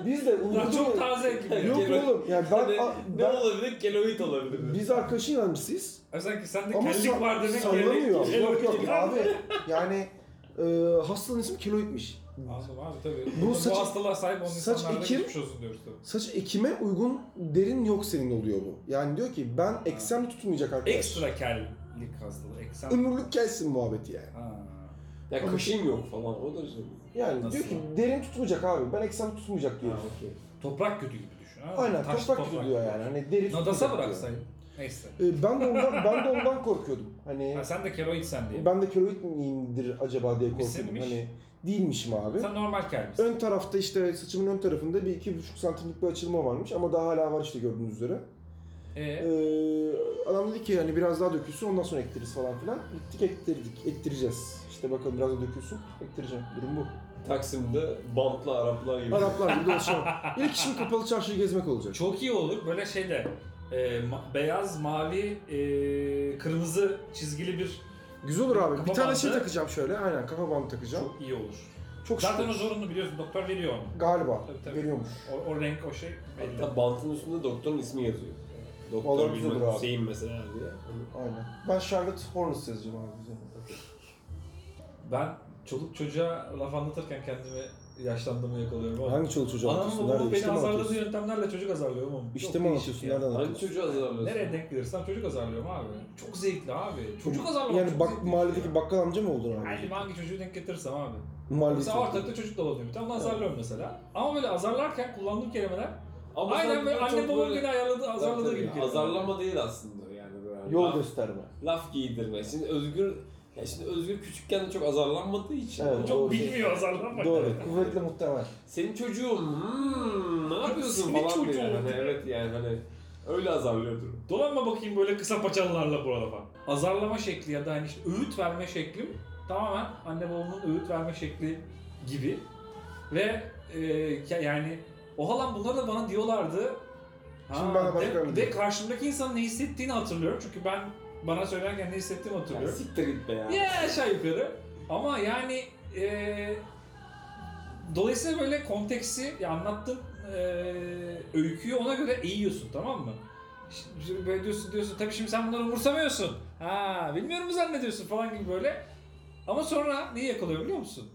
B: Biz de
E: Ulan
B: uydurduk.
E: çok taze gibi.
B: Yok oğlum. Yani ben,
A: Hani
B: a-
A: ne
B: ben-
A: olabilir? Keloid olabilir.
B: biz arkadaşın inancısıyız.
E: Abi sanki
C: Hani
E: sende
B: Ama
E: kellik
B: sa-
E: var demek
B: sallanıyor.
E: gerek-
B: Yok yok
E: gerek-
B: abi. Yani e, hastalığın ismi keloidmiş.
E: Anladım abi tabii.
B: Bu
E: Bu,
B: saç-
E: hastalığa sahip olan
B: saç
E: insanlarda
B: ekim-
E: geçmiş olsun diyoruz tabii.
B: Saç ekime uygun derin yok senin oluyor bu. Yani diyor ki ben eksem tutmayacak arkadaş.
E: Ekstra kellik hastalığı. Eksem.
B: Ömürlük gelsin muhabbeti yani.
E: Ha.
A: Ya kaşın yok falan. O da canım.
B: Yani
E: Nasıl
B: diyor ki
E: yani?
B: derin tutmayacak abi. Ben eksem tutmayacak
A: Ha,
B: diyor.
A: okey.
C: Toprak kötü gibi düşün. anladın mı?
B: Aynen
C: Taşlı
B: toprak gibi diyor yani. Hani deri
C: Nadasa
B: tutacak diyor.
C: bıraksaydın. Neyse.
B: Ee, ben de ondan ben de ondan korkuyordum. Hani
C: Ha, sen de keloidsen diye.
B: ben de keloid miyimdir acaba diye korkuyordum.
C: Misinmiş?
B: Hani değilmişim abi.
C: Sen normal kel misin?
B: Ön tarafta işte saçımın ön tarafında bir iki buçuk santimlik bir açılma varmış ama daha hala var işte gördüğünüz üzere.
C: Ee,
B: Ee, adam dedi ki hani biraz daha dökülsün ondan sonra ektiririz falan filan. Gittik ektirdik, ektireceğiz. İşte bakalım biraz daha dökülsün, ektireceğim. Durum bu.
A: Taksim'de bantlı Araplar gibi.
B: Araplar gibi dolaşalım. İlk işim kapalı çarşıyı gezmek olacak.
C: çok iyi olur böyle şeyde e, ma- beyaz, mavi, e, kırmızı çizgili bir
B: Güzel olur abi.
C: Kafa
B: bir tane
C: bandı.
B: şey takacağım şöyle. Aynen kafa bandı takacağım.
C: çok iyi olur.
B: Çok, şık.
C: Zaten o zorunlu biliyorsun doktor veriyor onu.
B: Galiba.
C: Tabii, tabii.
B: Veriyormuş.
C: O, o renk o şey belli.
A: Hatta E, bantın üstünde doktorun ismi yazıyor. Doktor
B: Olur, güzel
A: bilmem
B: olur abi.
A: Hüseyin mesela diye. Hani
B: Aynen. Ben Charlotte Hornets yazacağım abi. üzerine.
G: Ben çoluk çocuğa laf anlatırken kendimi yaşlandığımı yakalıyorum. ama
B: Hangi çoluk çocuğu
G: Anamın
B: atıyorsun?
G: babamın
B: Nerede?
G: beni
B: İşte mi
G: azarladığı
B: atıyorsun?
G: yöntemlerle çocuk azarlıyorum ama.
B: İşte
G: Çok
B: mi
G: değişik
B: atıyorsun?
G: ya.
B: Nereden
A: Hangi
B: atıyorsun?
A: çocuğu azarlıyorsun?
G: Nereye denk gelirsen çocuk azarlıyorum abi. Çok zevkli abi. Çocuk azarlamak
B: Yani
G: çok
B: bak
G: zevkli.
B: mahalledeki bakkal amca mı oldun
G: Yani
B: abi?
G: hangi çocuğu denk getirirsem abi.
B: Mahalledeki
G: Mesela
B: çocuk.
G: ortalıkta çocuk dolanıyor. Bir tane onu azarlıyorum mesela. Ama böyle azarlarken kullandığım kelimeler
A: Ama
G: aynen
A: sen
G: böyle
A: bunu çok
G: anne babam
A: böyle-
G: beni ayarladı,
A: Tabii,
G: azarladığı
A: tabii.
G: gibi kelimeler.
A: Azarlama değil aslında yani. Böyle.
B: Yol
A: Laf-
B: gösterme.
A: laf giydirme. Şimdi Özgür ya şimdi Özgür küçükken de çok azarlanmadığı için
B: Evet,
A: çok
B: doğru.
C: Bilmiyor azarlamak.
B: Doğru. Kuvvetle muhtemel.
A: senin çocuğun hmm, ne yapıyorsun
C: Senin
A: falan diyor.
C: çocuğun.
A: Hani evet yani hani öyle azarlıyordur.
C: Dolanma bakayım böyle kısa paçalılarla buralara falan. Azarlama şekli ya da hani işte öğüt verme şeklim tamamen anne babamın öğüt verme şekli gibi. Ve e, ya- yani o halam bunları da bana diyorlardı.
B: Şimdi bana başka
C: de, de
B: mı diyor?
C: karşımdaki insanın ne hissettiğini hatırlıyorum. Çünkü ben bana söylerken ne hissettiğimi
A: Yani
C: hatırlıyorum.
A: siktir git be ya.
C: Ya aşağı yukarı. Ama yani e, dolayısıyla böyle konteksi ya anlattığın e, öyküyü ona göre eğiyorsun tamam mı? Şimdi- Şimdi böyle diyorsun diyorsun tabii şimdi sen bunları umursamıyorsun. Ha bilmiyorum mu zannediyorsun falan gibi böyle. Ama sonra neyi yakalıyor biliyor musun?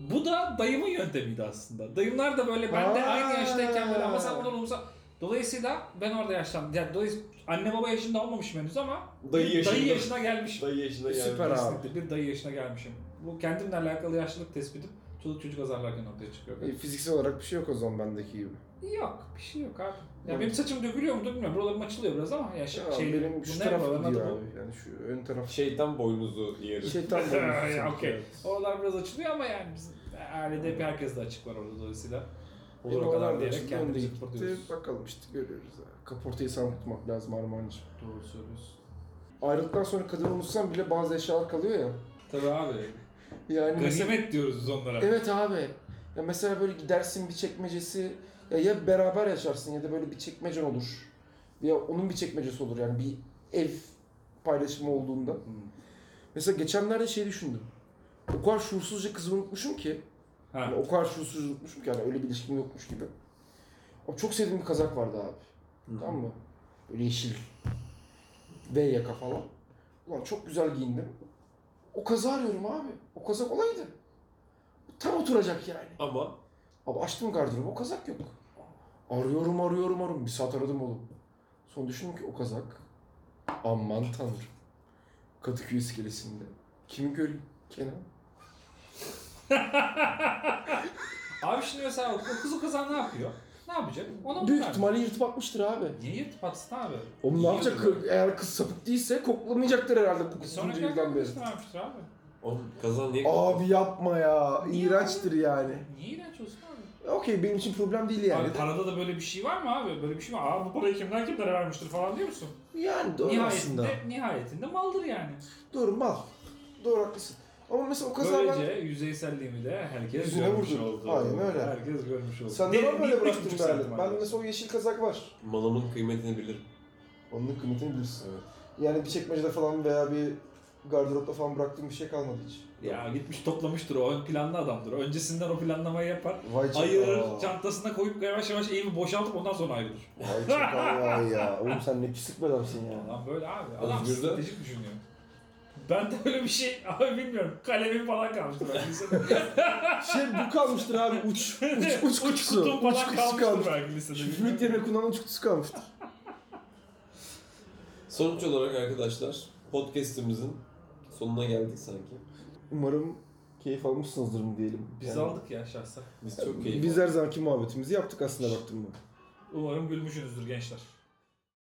C: Bu da dayımın yöntemiydi aslında. Dayımlar da böyle ben de
B: Ha.
C: aynı yaştayken böyle ama sen bunları umursa... Dolayısıyla ben orada yaşlandım. Yani dolayısıyla anne baba yaşında olmamışım henüz ama
A: Dayı yaşında.
C: dayı yaşına gelmişim.
A: Dayı yaşında yani.
B: Süper abi.
C: Kesinlikle bir dayı yaşına gelmişim. Bu kendimle alakalı yaşlılık tespitim çoluk çocuk azarlarken ortaya çıkıyor.
B: E, Fiziksel olarak bir şey yok o zaman bendeki gibi.
C: Yok bir şey yok abi. Ya
B: Yok.
C: benim saçım dökülüyor mu bilmiyorum. Buralarım açılıyor biraz ama ya şey,
B: Ya,
C: şey
B: benim şu
C: bunlar
B: taraf
C: buraların adı
B: gidiyor
C: bu.
B: abi. Yani şu ön taraf.
A: Şeytan boynuzu yeri.
B: Şeytan
C: Ya,
B: boynuzu. sanki,
C: okey.
B: evet.
C: Oralar biraz açılıyor ama yani bizim ailede hep herkes de açık var orada dolayısıyla.
B: E,
C: Olur o
B: bu
C: kadar
B: adam
C: diyerek
B: şimdi önde
C: kendimizi
B: gitti.
C: kurtarıyoruz.
B: Bakalım işte görüyoruz. abi. Kaportayı sana tutmak lazım Armağan'cığım.
C: Doğru söylüyorsun.
B: Ayrıldıktan sonra kadını unutsan bile bazı eşyalar kalıyor ya.
C: Tabii abi.
B: Yani
C: Gazimet diyoruz biz onlara.
B: Evet abi. Ya mesela böyle gidersin bir çekmecesi ya, ya beraber yaşarsın ya da böyle bir çekmecen olur. Ya onun bir çekmecesi olur yani bir ev paylaşımı olduğunda. Mesela geçenlerde şey düşündüm. O kadar şuursuzca kızı unutmuşum ki.
C: Ha.
B: Yani o kadar şuursuzca unutmuşum ki yani öyle bir ilişkim yokmuş gibi. Ama çok sevdiğim bir kazak vardı abi. Tamam mı? Böyle yeşil. V yaka falan. Ulan çok güzel giyindim. O kazağı arıyorum abi. O kazak olaydı. Tam oturacak yani.
A: Ama
B: Abi açtım gardırobu o kazak yok. Arıyorum arıyorum arıyorum. Bir saat aradım oğlum. Sonra düşündüm ki o kazak. Aman tanrım. Kadıköy iskelesinde. Kimi göreyim? Kenan.
C: Abi şimdi mesela o kız o kaza ne yapıyor? Ne yapacak? Ona
B: Büyük
C: bakar.
B: ihtimalle yırtıp atmıştır abi.
C: Niye yırtıp atsın abi?
B: Oğlum ne
A: Yiyor
B: yapacak?
A: mu?
B: Eğer kız sapık değilse koklamayacaktır herhalde bu
C: Sonra
B: kusuncu
C: kadar
B: yıldan beri.
C: kardeşini vermiştir abi.
A: oğlum kazan niye
B: Abi yapma ya.
C: Niye
B: İğrençtir yani.
C: Niye iğrenç olsun abi?
B: Okey benim için problem değil yani.
C: Abi parada da böyle bir şey var mı abi? Böyle bir şey var. Aa bu parayı kimden kimlere vermiştir falan diyor musun?
B: Yani doğru
C: nihayetinde,
B: aslında.
C: nihayetinde maldır yani.
B: Doğru mal. Doğru haklısın. Ama mesela o kaza ben...
C: Böylece yüzeyselliğimi de herkes
B: Yüzüne
C: görmüş
B: vurdun.
C: oldu.
B: Aynen öyle.
C: Herkes görmüş oldu.
B: Sen
C: Derin
B: de var
C: bir-
B: böyle
C: üç
B: bıraktın
C: buçuk
B: be
C: santim
B: Halit.
C: var.
B: Ben mesela o yeşil kazak var.
A: malımın kıymetini bilirim.
B: Onun kıymetini bilirsin.
A: Evet.
B: Yani bir çekmecede falan veya bir gardıropta falan bıraktığım bir şey kalmadı hiç.
C: Ya gitmiş toplamıştır o ön planlı adamdır. Öncesinden o planlamayı yapar.
B: Vay
C: Ayırır,
B: çakal.
C: çantasına koyup yavaş yavaş evi boşaltıp ondan sonra ayrılır.
B: Vay çakal vay ya. Oğlum sen ne pislik bir adamsın ya.
C: Adam böyle abi. Adam
A: Özgür de-
C: stratejik düşünüyor. Ben de öyle bir şey abi bilmiyorum. Kalemim falan kalmıştı ben.
B: Şey bu kalmıştır abi uç. Uç, uç kutusu.
C: kutum falan
B: uç kutusu
C: kalmıştır
B: kalmıştır.
C: belki lisede.
B: Hükümet yerine kullanılan uç kutusu kalmıştır.
A: Sonuç olarak arkadaşlar podcast'imizin sonuna geldik sanki.
B: Umarım keyif almışsınızdır mı diyelim.
C: Biz
B: Yani
C: aldık ya şahsen.
A: Biz çok keyif
B: Biz
A: aldık.
B: her zamanki muhabbetimizi yaptık aslında baktım mı?
E: Umarım gülmüşsünüzdür gençler.